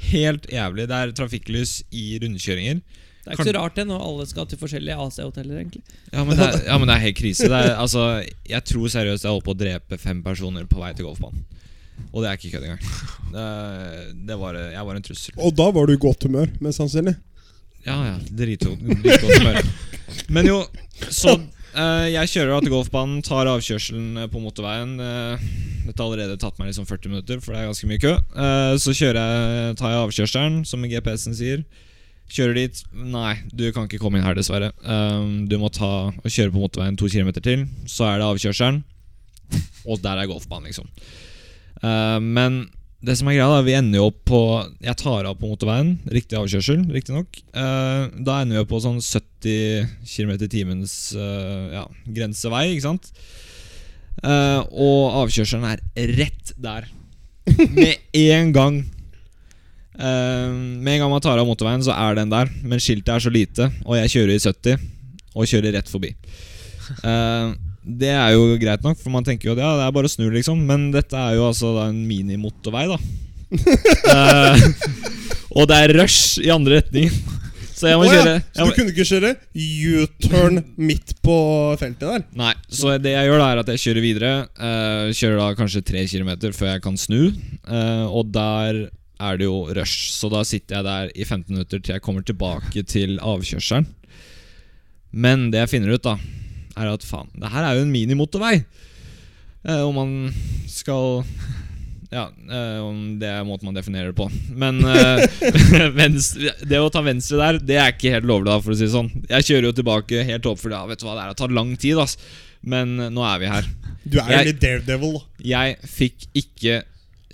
helt jævlig. Det er trafikklys i rundkjøringer. Det er ikke så rart det når alle skal til forskjellige AC-hoteller, egentlig. Ja, men det er, ja, men det er helt krise. Det er, altså, jeg tror seriøst jeg holdt på å drepe fem personer på vei til golfbanen. Og det er ikke kødd engang. Det, det var, jeg var en trussel. Og da var du i godt humør, mest sannsynlig. Ja, ja, dritgodt dritgodt humør. Men jo, så eh, Jeg kjører da til golfbanen, tar avkjørselen eh, på motorveien. eh, dette har allerede tatt meg liksom 40 minutter, for det er ganske mye kø. Eh, så kjører jeg, tar jeg avkjørselen, som GPS-en sier. Kjører dit. Nei, du kan ikke komme inn her, dessverre. Eh, du må ta og kjøre på motorveien to kilometer til. Så er det avkjørselen, og der er golfbanen, liksom. Eh, men det som er greia, da, vi ender jo opp på Jeg tar av på motorveien. Riktig avkjørsel, riktignok. Uh, da ender vi opp på sånn 70 km i timens eh, ja, grensevei, ikke sant? Eh, og avkjørselen er rett der. Med en gang. Eh, med en gang man tar av motorveien, så er den der. Men skiltet er så lite, og jeg kjører i 70, og kjører rett forbi. Eh, det er jo greit nok, for man tenker jo at ja, det er bare å snu, liksom. Men dette er jo altså da en minimotorvei, da. Eh, og det er rush i andre retning. Så jeg må Å ja, kjøre jeg Så må, du kunne ikke kjøre U-turn midt på feltet der? Nei, så det jeg gjør da er at jeg kjører videre eh, Kjører da kanskje tre kilometer før jeg kan snu eh, Og der er det jo rush Så da sitter jeg der i 15 minutter til jeg kommer tilbake til avkjørselen Men det jeg finner ut da Er at faen, det her er jo en minimotorvei eh, Om man skal... Ja, eh, om det er måten man definerer det på Men eh, venstre, det å ta venstre der Det er ikke helt lovlig da, for å si det sånn Jeg kjører jo tilbake helt opp For ja, vet du hva, det her tar lang tid ass Men eh, nå er vi her Du er Jeg- jo litt daredevil. da. Jeg fikk ikke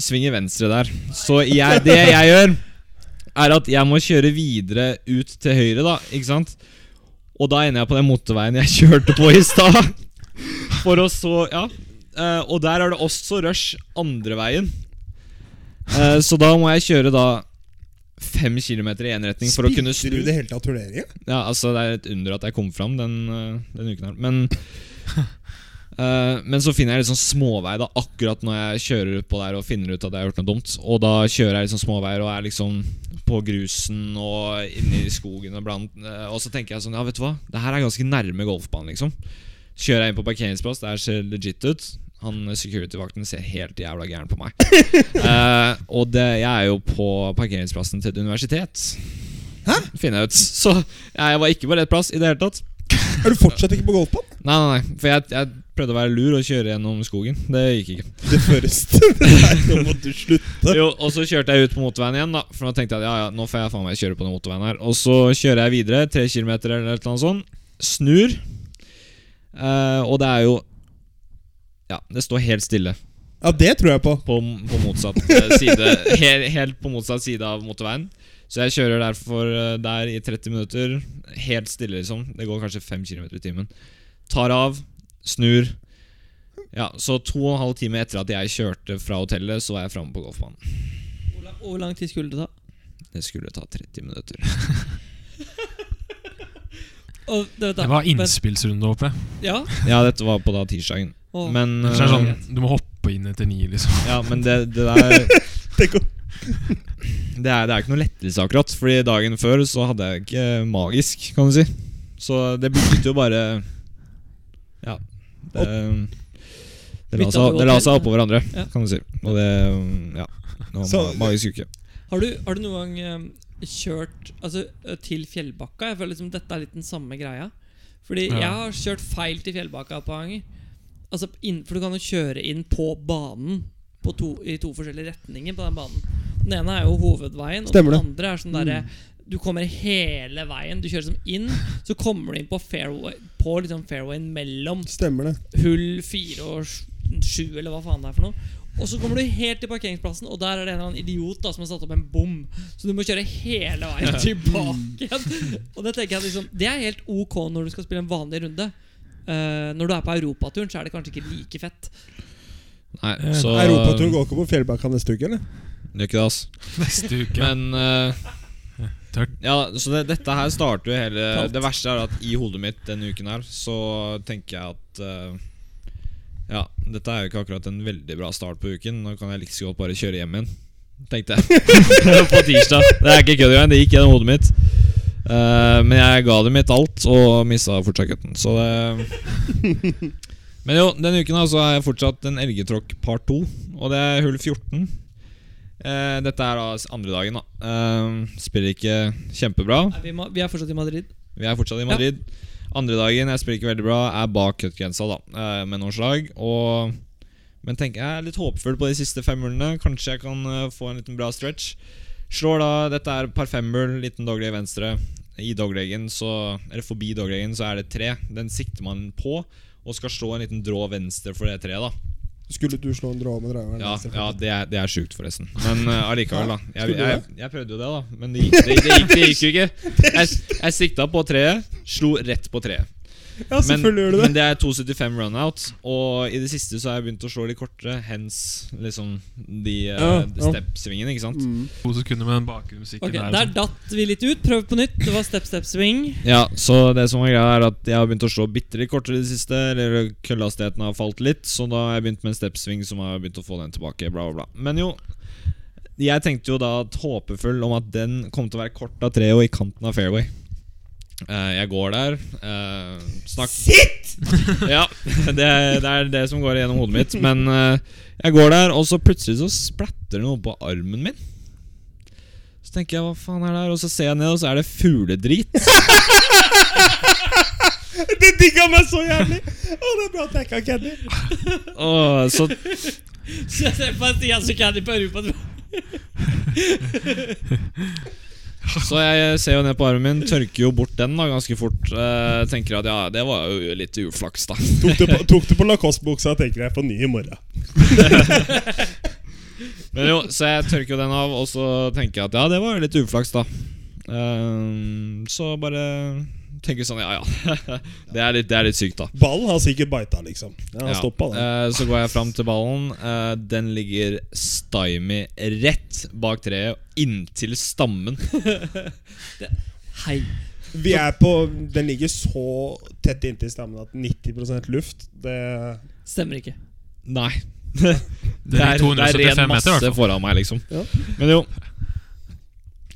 svinge venstre der Så jeg, det jeg gjør Er at jeg må kjøre videre ut til høyre da Ikke sant? Og da ender jeg på den motorveien jeg kjørte på i stad For å så, ja Eh, Og der er det også rush andre veien Eh, Så da må jeg kjøre da Fem kilometer i en retning For å kunne snu Spilte du det hele tatt turneringen? ja, altså Det er et under at jeg kom fram den, øh, den uken her. Men, øh, men så finner jeg litt sånn småvei da akkurat når jeg kjører utpå der og finner ut at jeg har gjort noe dumt. Og da kjører jeg litt sånn småveier og er liksom på grusen og inne i skogen. Og, blant, øh, og så tenker jeg sånn Ja, vet du hva, det her er ganske nærme golfbanen, liksom. Så kjører jeg inn på parkeringsplass, det her ser legit ut. Han øh, security-vakten ser helt jævla gæren på meg. Eh, og det, jeg er jo på parkeringsplassen til et universitet finner jeg ut. Så ja, jeg var ikke på rett plass i det hele tatt. Er du fortsatt ikke på golfbanen? Nei, nei, nei, for jeg, jeg prøvde å være lur og kjøre gjennom skogen. Det gikk ikke. Det første Nei, nå må du slutte. Jo, og så kjørte jeg ut på motorveien igjen, da. For nå tenkte jeg at ja, ja, nå får jeg faen meg kjøre på den motorveien her. Og så kjører jeg videre, tre kilometer eller et eller annet sånt. Snur. Eh, og det er jo Ja, det står helt stille Ja, det tror jeg på. på, på motsatt eh, side. Helt, helt på motsatt side av motorveien. Så jeg kjører derfor eh, der i 30 minutter. Helt stille, liksom. Det går kanskje 5 km i timen. Tar av, snur. Ja, Så to og en halv time etter at jeg kjørte fra hotellet, så var jeg framme på golfbanen. Hvor lang- Hvor lang tid skulle det ta? Det skulle ta 30 minutter. Og, du vet da, Det var vent- innspillsrunde, håper jeg. Ja? Ja, dette var på da tirsdagen. Åh. Men, Ellers er det eh, sånn, du må hoppe inn etter ni, liksom. ja, men det, det der Tenk om det er, det er ikke noe lettelse akkurat, Fordi dagen før så hadde jeg ikke magisk, kan du si. Så det bygget jo bare Ja. Det, det, la, Bytta seg, til det la hotell. seg oppå hverandre, Ja. kan du si. Og det Ja. Det var Så- en magisk uke. Har, du, har du noen gang eh, kjørt altså, eh, til Fjellbakka? Jeg føler liksom dette er litt den samme greia. Fordi Ja. jeg har kjørt feil til Fjellbakka et par ganger. Altså, inn, for du kan jo kjøre inn på banen på to, i to forskjellige retninger på den banen. Den ene er jo hovedveien, og Stemmer den det. andre er sånn Mm. derre Du kommer hele veien. Du kjører som inn, så kommer du inn på fairway På liksom fairwayen mellom Stemmer det. hull fire og sj- sju, eller hva faen det er for noe. Og så kommer du helt til parkeringsplassen, og der er det en eller annen idiot da som har satt opp en bom. Så du må kjøre hele veien tilbake igjen. Og Det tenker jeg liksom Det er helt ok når du skal spille en vanlig runde. Eh, når du er på europaturen, så er det kanskje ikke like fett. Nei, Eh, så Europaturen går ikke på Fjellbakka neste uke, eller? Det er ikke det, ass. Neste uke. Men eh, Tørt. ja, så det, dette her starter jo hele Kaldt. Det verste er at i hodet mitt denne uken her, så tenker jeg at eh, Ja, dette er jo ikke akkurat en veldig bra start på uken. Nå kan jeg like så godt bare kjøre hjem igjen. tenkte jeg. på tirsdag. Det er ikke kødd engang. Det gikk gjennom hodet mitt. Eh, men jeg ga det mitt alt, og mista fortsatt cutten. Så det Men jo, denne uken her så har jeg fortsatt en elgetråkk part 2, og det er hull 14. Eh, dette er da andre dagen, da. Eh, spiller ikke kjempebra. Nei, vi, må, vi er fortsatt i Madrid. Vi er fortsatt i Madrid. Andre dagen, jeg spiller ikke veldig bra, er bak cutgrensa da, eh, med noen slag. Og, men tenker jeg er litt håpefull på de siste femhullene. Kanskje jeg kan eh, få en liten bra stretch. Slår da, Dette er par femhull, liten dogleg venstre. I dogleggen, så, eller Forbi dogleggen så er det tre. Den sikter man på, og skal slå en liten drå venstre for det treet. da Skulle du slå en drå med driveren? ja, venstre? ja, det er, det er sjukt, forresten. Men eh, allikevel, da. Jeg, jeg, jeg prøvde jo det, da. Men det gikk, det, det gikk, det gikk jo ikke. Jeg, jeg sikta på treet, slo rett på treet. ja selvfølgelig gjør du det. men det er 2,75 runout, og i det siste så har jeg begynt å slå litt kortere. Hens liksom de eh, Ja, ja. step-svingene, ikke sant? Mm. To sekunder med den bakgrunnsmusikken Ok, der. Der datt vi litt ut. Prøv på nytt. Det var step, step, swing. Ja, så det som er greia er at jeg har begynt å slå bitte litt kortere i det siste. Eller køllhastigheten har falt litt, så da har jeg begynt med en stepsving som har begynt å få den tilbake. Bla, bla, bla. Men jo, jeg tenkte jo da at håpefull om at den kom til å være kort av treet og i kanten av fairway. Eh, jeg går der. eh, snakk Ja, det, er- det er det som går gjennom hodet mitt. Men eh, jeg går der, og så plutselig så splatter det noe på armen min. Så tenker jeg, hva faen er det her? Og så ser jeg ned, og så er det fugledrit. Det digga meg så jævlig! Å, det er bra at jeg ikke har Kenny. Åh, så Så jeg ser på Stian som kan i på Europa. Så jeg ser jo ned på armen min, tørker jo bort den da ganske fort. Eh, tenker at ja, det var jo litt uflaks, da. Tok det på, tok det på Lacoste-buksa og tenker jeg får ny i morgen. Men jo, Så jeg tørker jo den av, og så tenker jeg at ja, det var jo litt uflaks, da. Eh, så bare tenker sånn, ja ja. det, er litt, det er litt sykt, da. Ballen har sikkert bita, liksom. Den har Ja. stoppa, den. Eh, så går jeg fram til ballen. Eh, den ligger stymie rett bak treet, inntil stammen. Hei. Vi er på Den ligger så tett inntil stammen at 90 luft Det Stemmer ikke. Nei. Det er 275 meter, i hvert masse fall. foran meg, liksom. Ja. Men jo.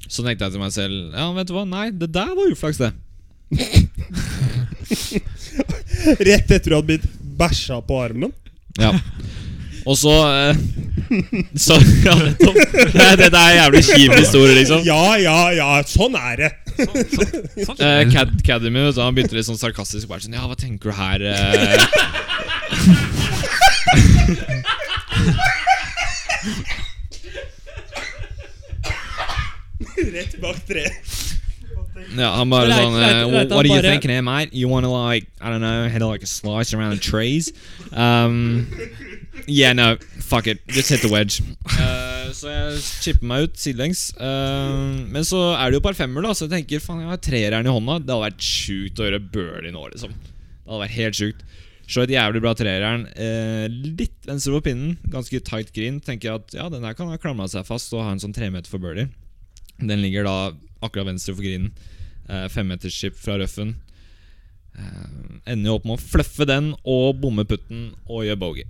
Så tenkte jeg til meg selv Ja, vet du hva, nei, det der var uflaks, det. Rett etter du hadde blitt bæsja på armen. Ja. Og så eh, Så Ja, nettopp. Nei, Dette er en jævlig kjip historie, liksom. Ja, ja, ja. Sånn er det. Sånn, Eh, sånn. Cad Cademy vet du, han begynte litt sånn sarkastisk. Bare sånn, ja, hva tenker du her? eh?» Rett bak treet. Ja, han bare Reit- sånn eh, Reit- Reitan What do you bare- think, eh, mate? You wanna like, I don't know, hit like a slice around the trees? Um, yeah, no, fuck it. Just hit the wedge. Eh, så jeg chipper meg ut sidelengs. Eh, men så er det jo par femmer, da, så jeg tenker faen, jeg har treeren i hånda. Det hadde vært sjukt å gjøre birdie nå, liksom. Det hadde vært helt sjukt. Så et jævlig bra treeren. Eh, litt venstre på pinnen, ganske tight green. Tenker jeg at ja, den her kan ha klamra seg fast og ha en sånn tremeter for birdie. Den ligger da akkurat venstre for grinen. Eh, Femmeterskip fra røffen. Eh, ender jo opp med å fluffe den og bomme putten og gjøre bogey.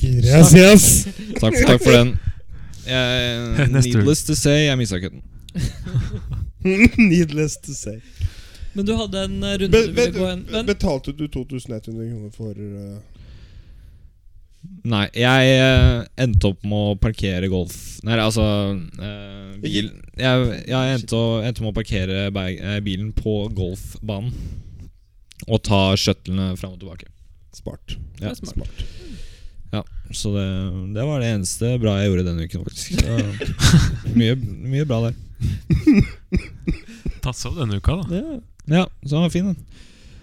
Gracias. Takk, takk for den. Neste Jeg, uke. needless to say, jeg mista kutten. Needless to say. Men du hadde en eh, runde Be, du be, ville gå en Men betalte du 2100 kroner for uh, Nei, jeg eh, endte opp med å parkere golf Nei, altså eh, bil. Jeg, jeg endte, å, endte med å parkere bag, eh, bilen på golfbanen. Og ta shuttlene fram og tilbake. Smart. Ja, Det er smart. Smart. Så det, det var det eneste bra jeg gjorde denne uken, faktisk. Det var mye, mye bra der. Tatt seg opp denne uka, da. Ja, så den var fin, den.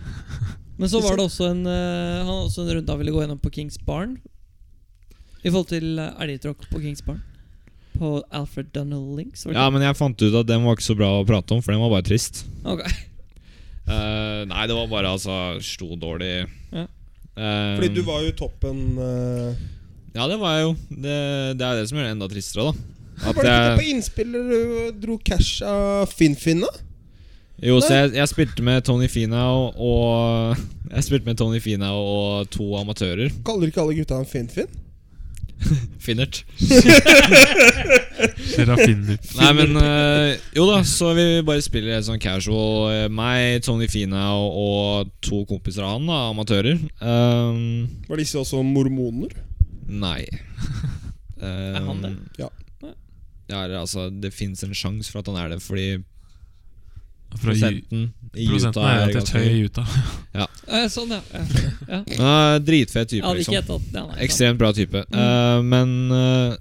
Men så var det også en eh, Han hadde også en runde han ville gå gjennom på Kings Barn. I forhold til eh, elgtråkk på Kings Barn. På Alfred Donald Links. var det Ja, men jeg fant ut at den var ikke så bra å prate om, for den var bare trist. ikke? Ok. Eh, nei, det var bare altså Sto dårlig. Ja. Eh, Fordi du var jo toppen uh, Ja, det var jeg jo. Det, det er det som gjør det enda tristere, da. At Var det ikke det jeg, på innspiller du dro cash av Finnfinna? jo, så jeg, jeg spilte med Tony Finau og Jeg spilte med Tony Finau og to amatører. Kaller ikke alle gutta en Finnfinn? Finnert. Serafiner. Nei, men eh, Jo da, så vi bare spiller helt sånn casual. eh, meg, Tony Fina og, og to kompiser av han, da, amatører. Ehm, Var disse også mormoner? nei. er han det? Ja. Ja, eller altså, det fins en sjanse for at han er det, fordi Fra Ju- prosenten i Prosenten Utah er er relativt ganske høy høy. i Utah. Eh, sånn, ja. ja. ja. Han er Jeg Dritfet type, hadde ikke liksom. gjettet det. nei, sant. Mm. Ekstremt bra type. Eh, men eh,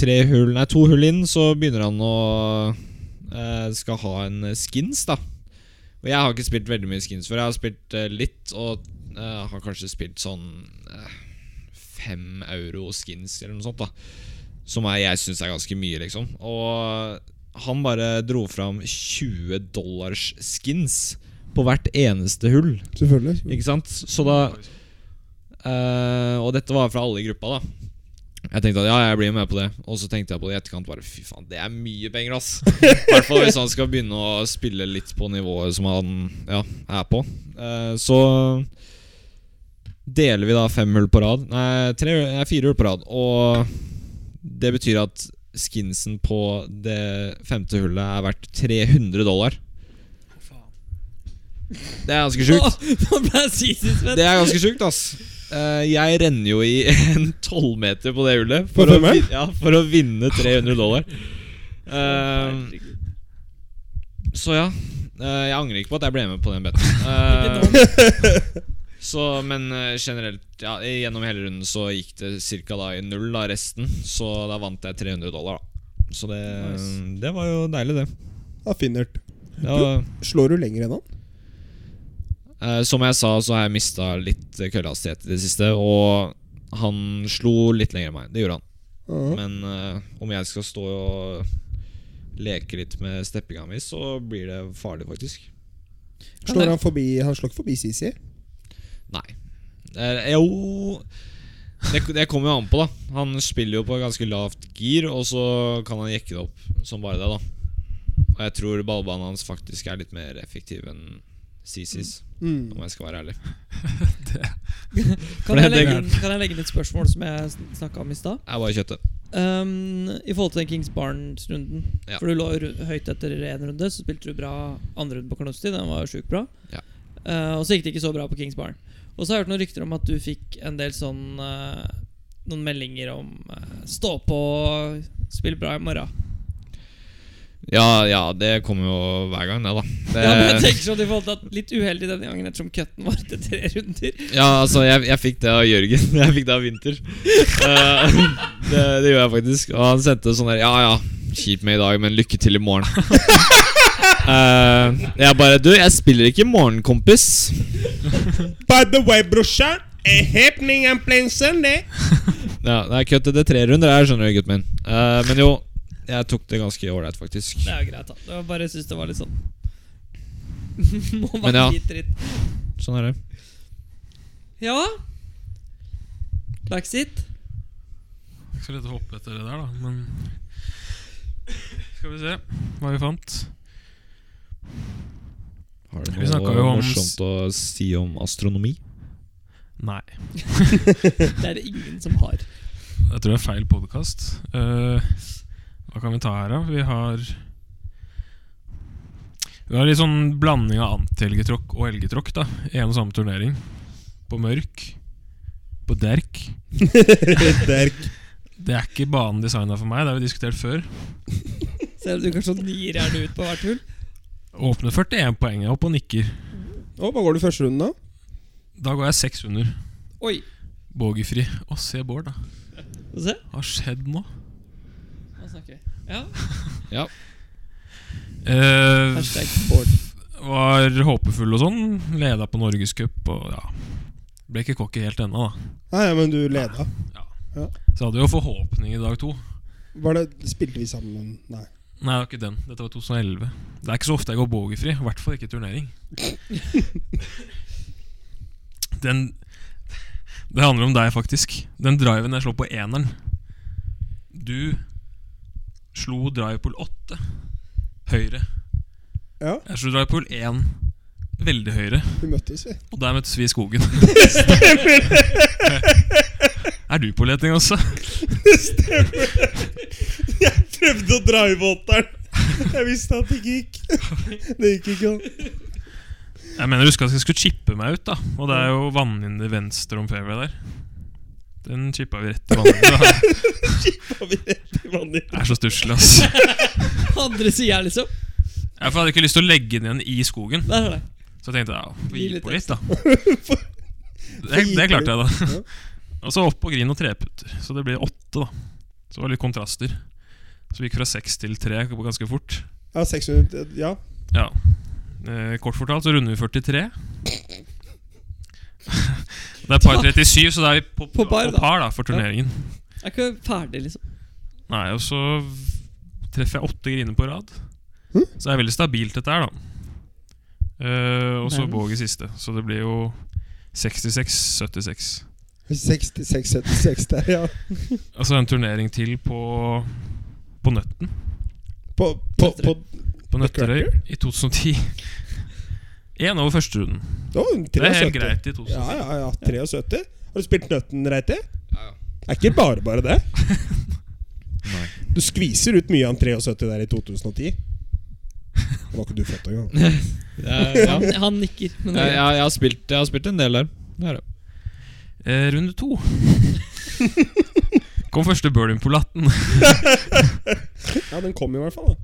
tre hull, nei, to hull inn, så begynner han å eh, Skal ha en eh, skins, da. Og jeg har ikke spilt veldig mye skins før. Jeg har spilt eh, litt, og eh, har kanskje spilt sånn eh, fem euro skins eller noe sånt, da. Som er, jeg syns er ganske mye, liksom. Og han bare dro fram 20 dollars skins på hvert eneste hull. Selvfølgelig. Ikke sant? Så da eh, Og dette var fra alle i gruppa, da. Jeg tenkte at ja, jeg blir med på det. Og så tenkte jeg på det i etterkant. Bare fy faen, det er mye penger, ass. I hvert fall hvis han skal begynne å spille litt på nivået som han ja, er på. Eh, så deler vi da fem hull på rad. Nei, tre, nei, fire hull på rad. Og det betyr at skinsen på det femte hullet er verdt 300 dollar. Det er ganske sjukt. Åh, Nå ble jeg psykisk svett. Det er ganske sjukt, ass. Eh, jeg renner jo i en tolvmeter på det hullet for, På å, femmeren? vin- ja, for å vinne 300 dollar. Eh, så ja. Eh, jeg angrer ikke på at jeg ble med på den beten. Eh, så, men eh, generelt, ja, gjennom hele runden så gikk det ca. da i null, da, resten. Så da vant jeg 300 dollar, da. Så det, Nice. det var jo deilig, det. Ja, Finnert. det var, Slår du lenger enn han? Eh, som jeg sa, så har jeg mista litt eh, køllehastighet i det siste. Og han slo litt lenger enn meg. Det gjorde han. Ja. Men eh, om jeg skal stå og leke litt med steppinga mi, så blir det farlig, faktisk. Slår han forbi Han slår ikke forbi Sisi? Nei. Eh, jo det, det kommer jo an på, da. Han spiller jo på ganske lavt gir, og så kan han jekke det opp som bare det, da. Og jeg tror ballbanen hans faktisk er litt mer effektiv enn CCs, Mm. om jeg skal være ærlig. Kan jeg, det er legge inn, kan jeg legge inn et spørsmål som jeg snakka om i stad? Jeg er bare kjøttet. Um, I forhold til den Kings Barnes-runden Ja. For du lå jo ru- høyt etter én runde, så spilte du bra andre runde på Knossi. Den var jo sjukt bra. Ja. Eh, og så gikk det ikke så bra på Kings Barn. Og så har jeg hørt noen rykter om at du fikk en del sånn eh, Noen meldinger om eh, 'stå på, spill bra i morgen'. Ja, ja, det kommer jo hver gang, det, da. Det, ja, men jeg tenker sånn i forhold til at Litt uheldig denne gangen ettersom cutten var etter tre runder. ja, altså, jeg, jeg fikk det av Jørgen. Jeg fikk det av Winter. Eh, det, det gjorde jeg faktisk. Og han sendte sånn der Ja, ja, kjipt med i dag, men lykke til i morgen. Eh, jeg bare Du, jeg spiller ikke i morgen, kompis. By the way, brorsan, a happening and playing Sunday. Ja, det er kødd. Det er tre runder her, skjønner du, gutten min. Eh, men jo, jeg tok det ganske ålreit, faktisk. Det er jo greit, da. Det var bare jeg synes det var litt sånn Må Men være ja. litt dritt. Sånn er det. Ja. That's it. Det er ikke så lett å hoppe etter det der, da, men Skal vi se hva vi fant. Har du Vi snakket jo noe om- morsomt å si om astronomi? Nei. Det er det ingen som har. Jeg tror det er feil podkast. hva kan vi ta her, da? Vi har Vi har litt sånn blanding av antielgetråkk og elgetråkk da i en og samme turnering. På mørk. På derk. Derk. Det er ikke banen designa for meg, det har vi diskutert før. Selv om du kanskje gnir gjerne ut på hvert hull. Åpner 41 poeng, jeg er oppe og nikker. Å, hva går du første runden, da? Da går jeg 600. Oi, Bogeyfri. Å, se Bård, da. få se. Hva har skjedd nå? Nå snakker vi. Ja. Ja. Eh, Hashtag board. var håpefull og sånn. Leda på Norgescup og ja. Ble ikke cocky helt ennå, da. Nei, men du leda. Så hadde jo forhåpning i dag to. Var det, spilte vi sammen? Nei. Nei, det var ikke den. Dette var 2011. Det er ikke så ofte jeg går bogeyfri. I hvert fall ikke i turnering. den Det handler om deg, faktisk. Den driven jeg slår på eneren Du slo drivepool 8 høyre. Ja, Jeg slo drivepool 1 veldig høyre. vi møttes, vi. Og der møttes vi i skogen. Er du på leting også? Prøvde å drive åtteren. Jeg visste at det ikke gikk. Det gikk ikke an. Jeg mener, husker at jeg skulle chippe meg ut, da. Og det er jo vannhinder venstre om fairway der. Den chippa vi rett i vannhinderet. Har vi rett i vannet? Det er så stusslig, ass. Andre sida, liksom. Jeg hadde ikke lyst til å legge den igjen i skogen. Der er det. Så jeg tenkte jeg, ja, vi Gi gir litt på litt, da. Det, det klarte jeg, da. Og så opp på green og treputter. Så det blir åtte, da. Så det var litt kontraster. Så vi gikk fra seks til tre ganske fort. Ja, 600 Ja. Ja. Eh, kort fortalt så runder vi 43. Det er par 37, så da er vi på, På par, da. på par da, for turneringen. Jeg er ikke ferdig, liksom. Nei, og så treffer jeg åtte griner på rad. Så det er veldig stabilt, dette her, da. Eh, og så Nærmest. Båg i siste. Så det blir jo 66-76. 66-76 der, ja. Altså en turnering til på På Nøtten. På, på, på På Nøtterøy Cracker? i 2010. Én over førsterunden. Å, Det er 73. helt greit i 2010. Ja, ja, ja. 73. Har du spilt Nøtten, Reiti? Ja, ja. Er ikke bare bare det. Nei. Du skviser ut mye av en 73 der i 2010. Det var ikke du født engang. Jeg, ja. jeg, Han nikker. Men jeg, jeg, har spilt, jeg har spilt en del der. Det er det. Eh, runde to. Kom første birdien på latten. Ja, den kom i hvert fall, da.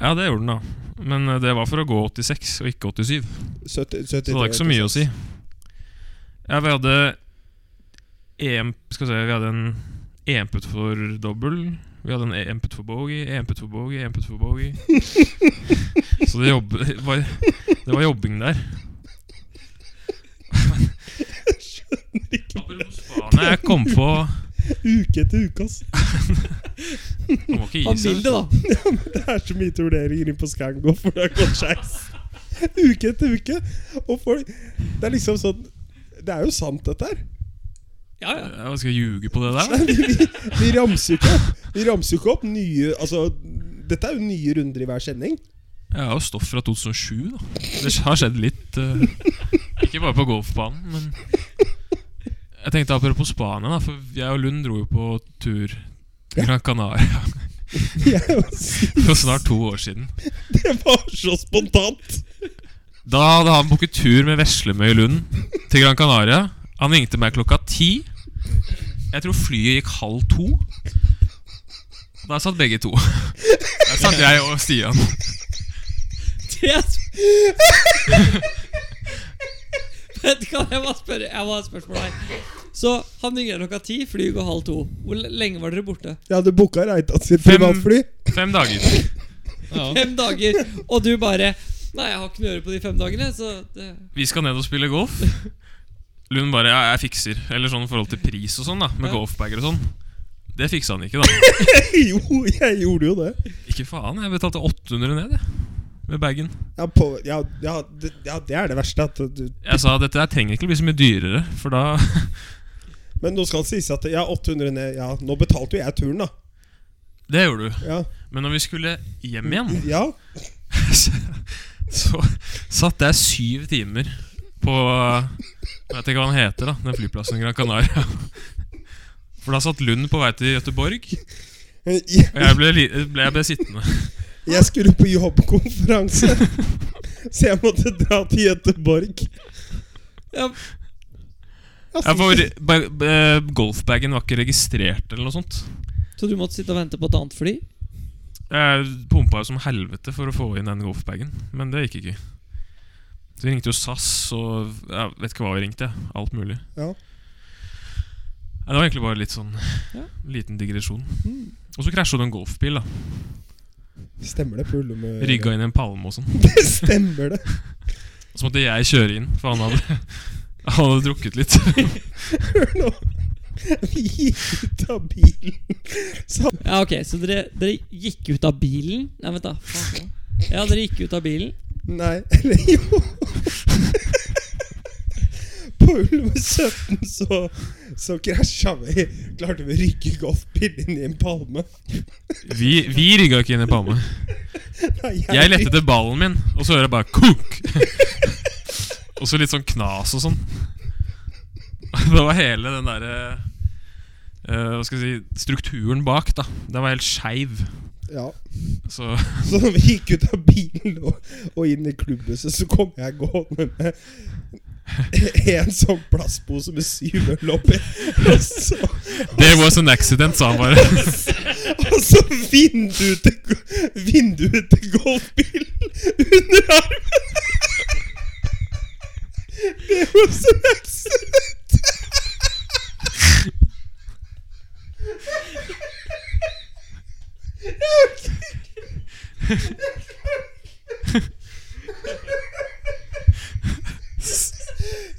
Ja, det gjorde den, da. Men eh, det var for å gå 86, og ikke 87. 70, Så det var ikke så mye å si. Ja, vi hadde EM Skal vi se, vi hadde en EM-putt for dobbel. Vi hadde en EM-putt for bogey, EM-putt for bogey, EM-putt for bogey. Så det, jobb, det, var, det var jobbing der. Apropos Spania, jeg kom på Uke etter uke, ass. Man må ikke gi han vil seg. det, da. Det er så mye turneringer inn på Skango for det har gått skeis. Uke etter uke. Og folk Det er liksom sånn Det er jo sant, dette her. Ja, ja. Ja, Skal jeg ljuge på det der? da? Vi, vi, vi ramser jo ikke opp Vi ramser jo ikke opp nye Altså, dette er jo nye runder i hver sending. Jeg har jo stoff fra 2007, da. Det har skjedd litt. eh, ikke bare på golfbanen, men Jeg tenkte apropos Spania, da, for jeg og Lund dro jo på tur til Gran Canaria Jeg må si, for snart to år siden. det var så spontant! Da hadde han booket tur med Veslemøy Lund til Gran Canaria. Han ringte meg klokka ti. Jeg tror flyet gikk halv to. Der satt begge to. Der satt jeg og Stian. Det er sp- Vet du hva, jeg må spørre Jeg må ha et spørsmål her. Så han ringer klokka ti, flyet går halv to. Hvor l- lenge var dere borte? Jeg hadde booka Reitan sitt Fem- privatfly. Fem dager. Ja. Fem dager, og du bare Nei, jeg har ikke noe å gjøre på de fem dagene, så det Vi skal ned og spille golf. Lund bare ja, 'jeg fikser'. Eller sånn i forhold til pris og sånn, da. Med Ja. golfbager og sånn. Det fiksa han ikke, da. Jo, jeg gjorde jo det. Ikke faen. Jeg betalte 800 ned, jeg. Med bagen. Ja, på, ja, ja, det, ja, det er det verste. At du, Jeg sa dette her trenger ikke bli så mye dyrere, for da men nå skal det sies at ja, 800 ned Ja, nå betalte jo jeg turen, da. Det gjorde du. Ja, Men når vi skulle hjem igjen, ja. så, så satt jeg syv timer på Jeg vet ikke hva den heter, da. Den flyplassen i Gran Canaria. For da satt Lund på vei til Gøteborg, og Jeg, jeg ble, li- ble, jeg ble sittende. jeg skulle på jobbkonferanse, så jeg måtte dra til Gøteborg. ja, Ja, for ba- ba- Golfbagen var ikke registrert eller noe sånt. Så du måtte sitte og vente på et annet fly? Jeg pumpa jo som helvete for å få inn den golfbagen, men det gikk ikke. Så vi ringte jo SAS og jeg vet ikke hva vi ringte. jeg. Alt mulig. Ja. Nei, det var egentlig bare litt sånn Ja. liten digresjon. Mm. Og så krasja det en golfbil. da Stemmer det på Ullum? Rygga inn i en palme og sånn. Det stemmer det. Så måtte jeg kjøre inn, for han hadde, han hadde drukket litt. Hør nå. Vi gikk ut av bilen. Så Ja, ok, så dere, dere gikk ut av bilen? Nei, vent, da. faen. Ja, dere gikk ut av bilen. Nei, eller jo På Ulv 17 så, så krasja vi. Klarte vi å rykke golfbil inn i en palme? Vi, vi rygga ikke inn i en palme. Nei, Jeg lette etter ballen min, og så hører jeg bare kok. og så litt sånn knas og sånn. Det var hele den derre eh, hva skal jeg si, strukturen bak, da. Den var helt skeiv. Ja. Så Så når vi gikk ut av bilen og, og inn i klubbhuset, så kom jeg gående med en sånn plastpose med syv øl oppi. Og så, There was an sånn accident, sa han bare. og så vinduet til, vinduet til golfbilen under armen! Det var så accident!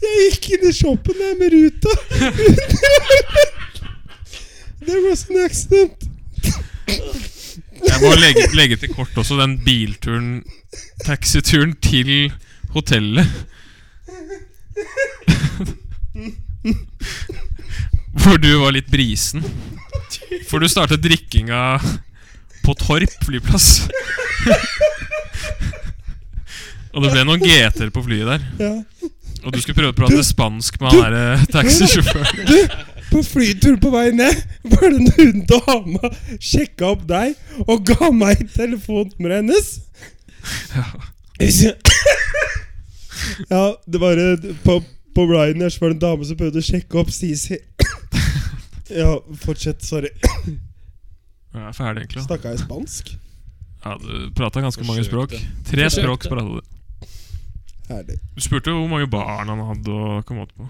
Jeg gikk inn i shoppen der med ruta. Det var sånn accident. Jeg må legge, legge til kort også den bilturen, taxituren til hotellet. Hvor du var litt brisen. For du startet drikkinga på Torp flyplass. Og det ble noen GT-er på flyet der. Ja. Og du skulle prøve å prate spansk med han derre taxisjåføren. Du, på flytur på vei ned var det en hund dama sjekka opp deg og ga meg telefonnummeret hennes. Ja. ja, det var eh, på, på Ryaners var det en dame som prøvde å sjekke opp Sisi. Ja, fortsett. Sorry. Ja, jeg er ferdig, egentlig. da. Snakka jeg spansk? Ja, du prata ganske mange språk. Forsøkte. Tre språk prata du. Herlig. Du spurte hvor mange barn han hadde og kom åt på.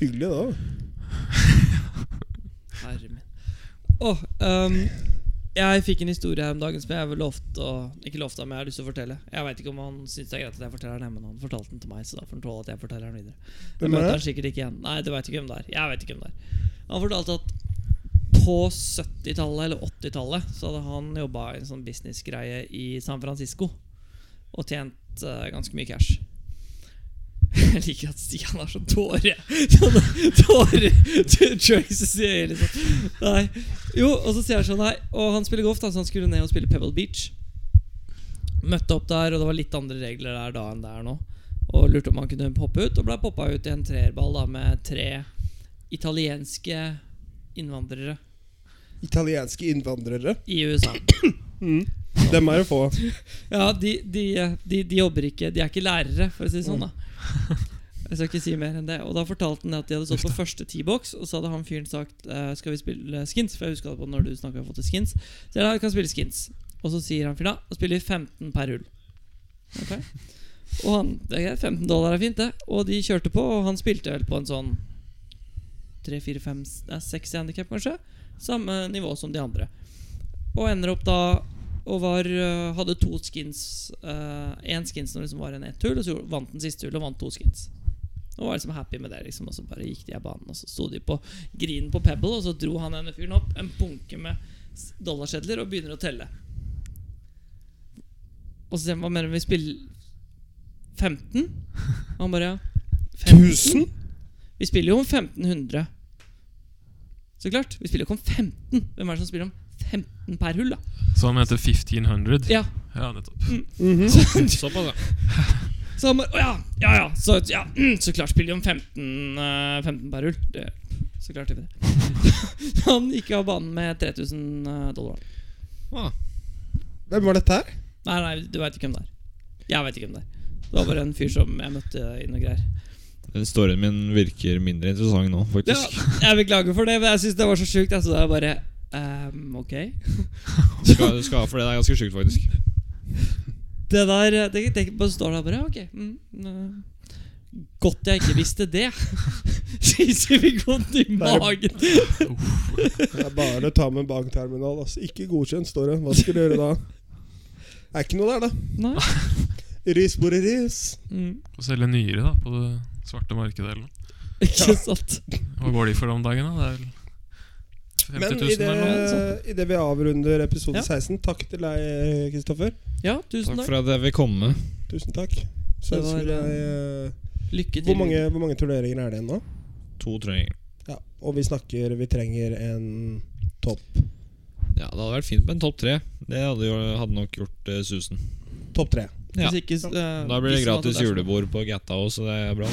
Hyggelig, da. Herre min. Åh, ehm, jeg fikk en historie her om dagen som jeg vel lovte å Ikke lovte, men jeg har lyst til å fortelle. Jeg veit ikke om han syns det er greit at jeg forteller den, men han fortalte den til meg, så da får han tåle at jeg forteller den videre. Hvem er Jeg møter det? han sikkert ikke igjen. Nei, du veit ikke hvem det er. Jeg vet ikke hvem det er. Han fortalte at på 70-tallet eller 80-tallet så hadde han jobba i en sånn businessgreie i San Francisco og tjent eh, ganske mye cash. Jeg liker at Stian har sånn tåre Sånn tåre til Traces i øyet, liksom. Nei. Jo, og så sier han sånn Nei, og han spiller golf, da, så han skulle ned og spille Pebble Beach. Møtte opp der, og det var litt andre regler der da enn det er nå. Og lurte om han kunne hoppe ut, og ble poppa ut i en treerball da med tre italienske innvandrere Italienske innvandrere. i USA. Dem er det få. Ja, de, de, de, de jobber ikke De er ikke lærere, for å si det sånn. da Jeg skal ikke si mer enn det. Og da fortalte han at de hadde stått på første T-box, og så hadde han fyren sagt eh, Skal vi spille skins? For jeg huska det på når du snakka om skins. Så jeg, «Ja, vi kan spille skins Og så sier han fyren da Da spiller vi 15 per hull. Ok Og han det er greit, 15 dollar er fint, det. Og de kjørte på, og han spilte vel på en sånn 3-4-5-6 handikap, kanskje. Samme nivå som de andre. Og ender opp da og var, øh, hadde to skins. Én skins når det liksom var en ett hull, og så gjorde- vant den siste hullet og vant to skins. Og var liksom happy med det, liksom, og så bare gikk de av banen. Og så sto de på grinen på Pebble, og så dro han denne fyren opp en bunke med s- dollarsedler og begynner å telle. Og så sier han hva mener du, vi spiller 15? Og han bare ja. 1000? Vi spiller jo om 1500. Så klart. Vi spiller jo ikke om 15. Hvem er det som spiller om 15 per hull, da? Så han heter 1500. Ja, Ja, nettopp. Såpass, ja. Så han bare Å ja, ja, ja. Så, ja mm, så klart spiller de om 15, eh, 15 per hull. Det, så klart gjør vi det. han gikk av banen med 3000 dollar. Ah, Hvem var dette her? Nei, nei, du veit ikke hvem det er. Jeg veit ikke hvem det er. Det var bare en fyr som jeg møtte i noe greier. den storyen min virker mindre interessant nå, Ja, faktisk. jeg beklager for det, men jeg syns det var så sjukt. Altså, det er bare ehm, Ok. Du skal, du skal ha for det. Det er ganske sjukt, faktisk. Det der eh, det, det bare står der bare. Ok. Mm, eh, Godt jeg ikke visste det. Skyter vi godt i magen. Det er bare å ta med bankterminal. Altså. Ikke godkjent, står det. Hva skal du gjøre da? Er ikke noe der, da. Nei. Ris bor i ris. Mm. Og selge nyre da, på det svarte markedet. eller noe. Ikke sant? Hva går de for om dagen? da? Det er Men vel 50 i 000 det, eller noe? sånn. i det vi avrunder episode Ja. 16, takk til deg, Kristoffer. Ja, tusen Takk takk. for at jeg vil komme. Tusen takk. Så Det var, ønsker jeg, eh, Lykke til. hvor, mange, hvor mange turneringer er det igjen nå? To treninger. Ja. Og vi snakker Vi trenger en topp Ja, det hadde vært fint med en topp tre. Det hadde, jo, hadde nok gjort eh, susen. Topp tre. Ja. Hvis ikke, eh, Da blir det hvis man- er gratis sånn- julebord på Gatta òg, så det er bra.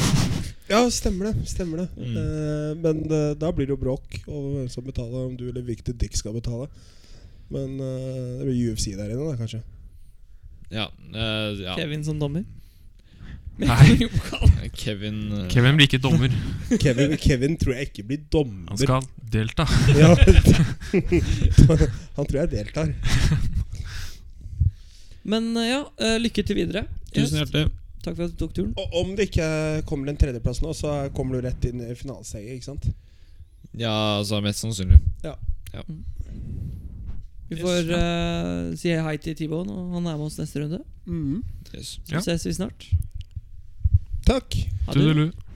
Ja, stemmer det. stemmer det Mm. Eh, Men eh, da blir det jo bråk over hvem som betaler, om du eller Victor Dick skal betale. Men eh, det blir UFC der inne, da, kanskje. Ja, eh, ja. Kevin som dommer. Nei. Kevin eh, Kevin blir ikke dommer. Kevin, Kevin tror jeg ikke blir dommer. Han skal delta. Ja. Han tror jeg deltar. Men eh, ja, eh, lykke til videre. Tusen Yes, hjertelig. Takk for at du tok turen. Og om det ikke kommer en tredjeplass nå, så kommer du rett inn i finaleseier, ikke sant? Ja, altså mest sannsynlig. Vi Yes. får eh, si hei til T-Bone, og han er med oss neste runde. Yes. Så Ja. ses vi snart. Takk. Ha det. Tudelu.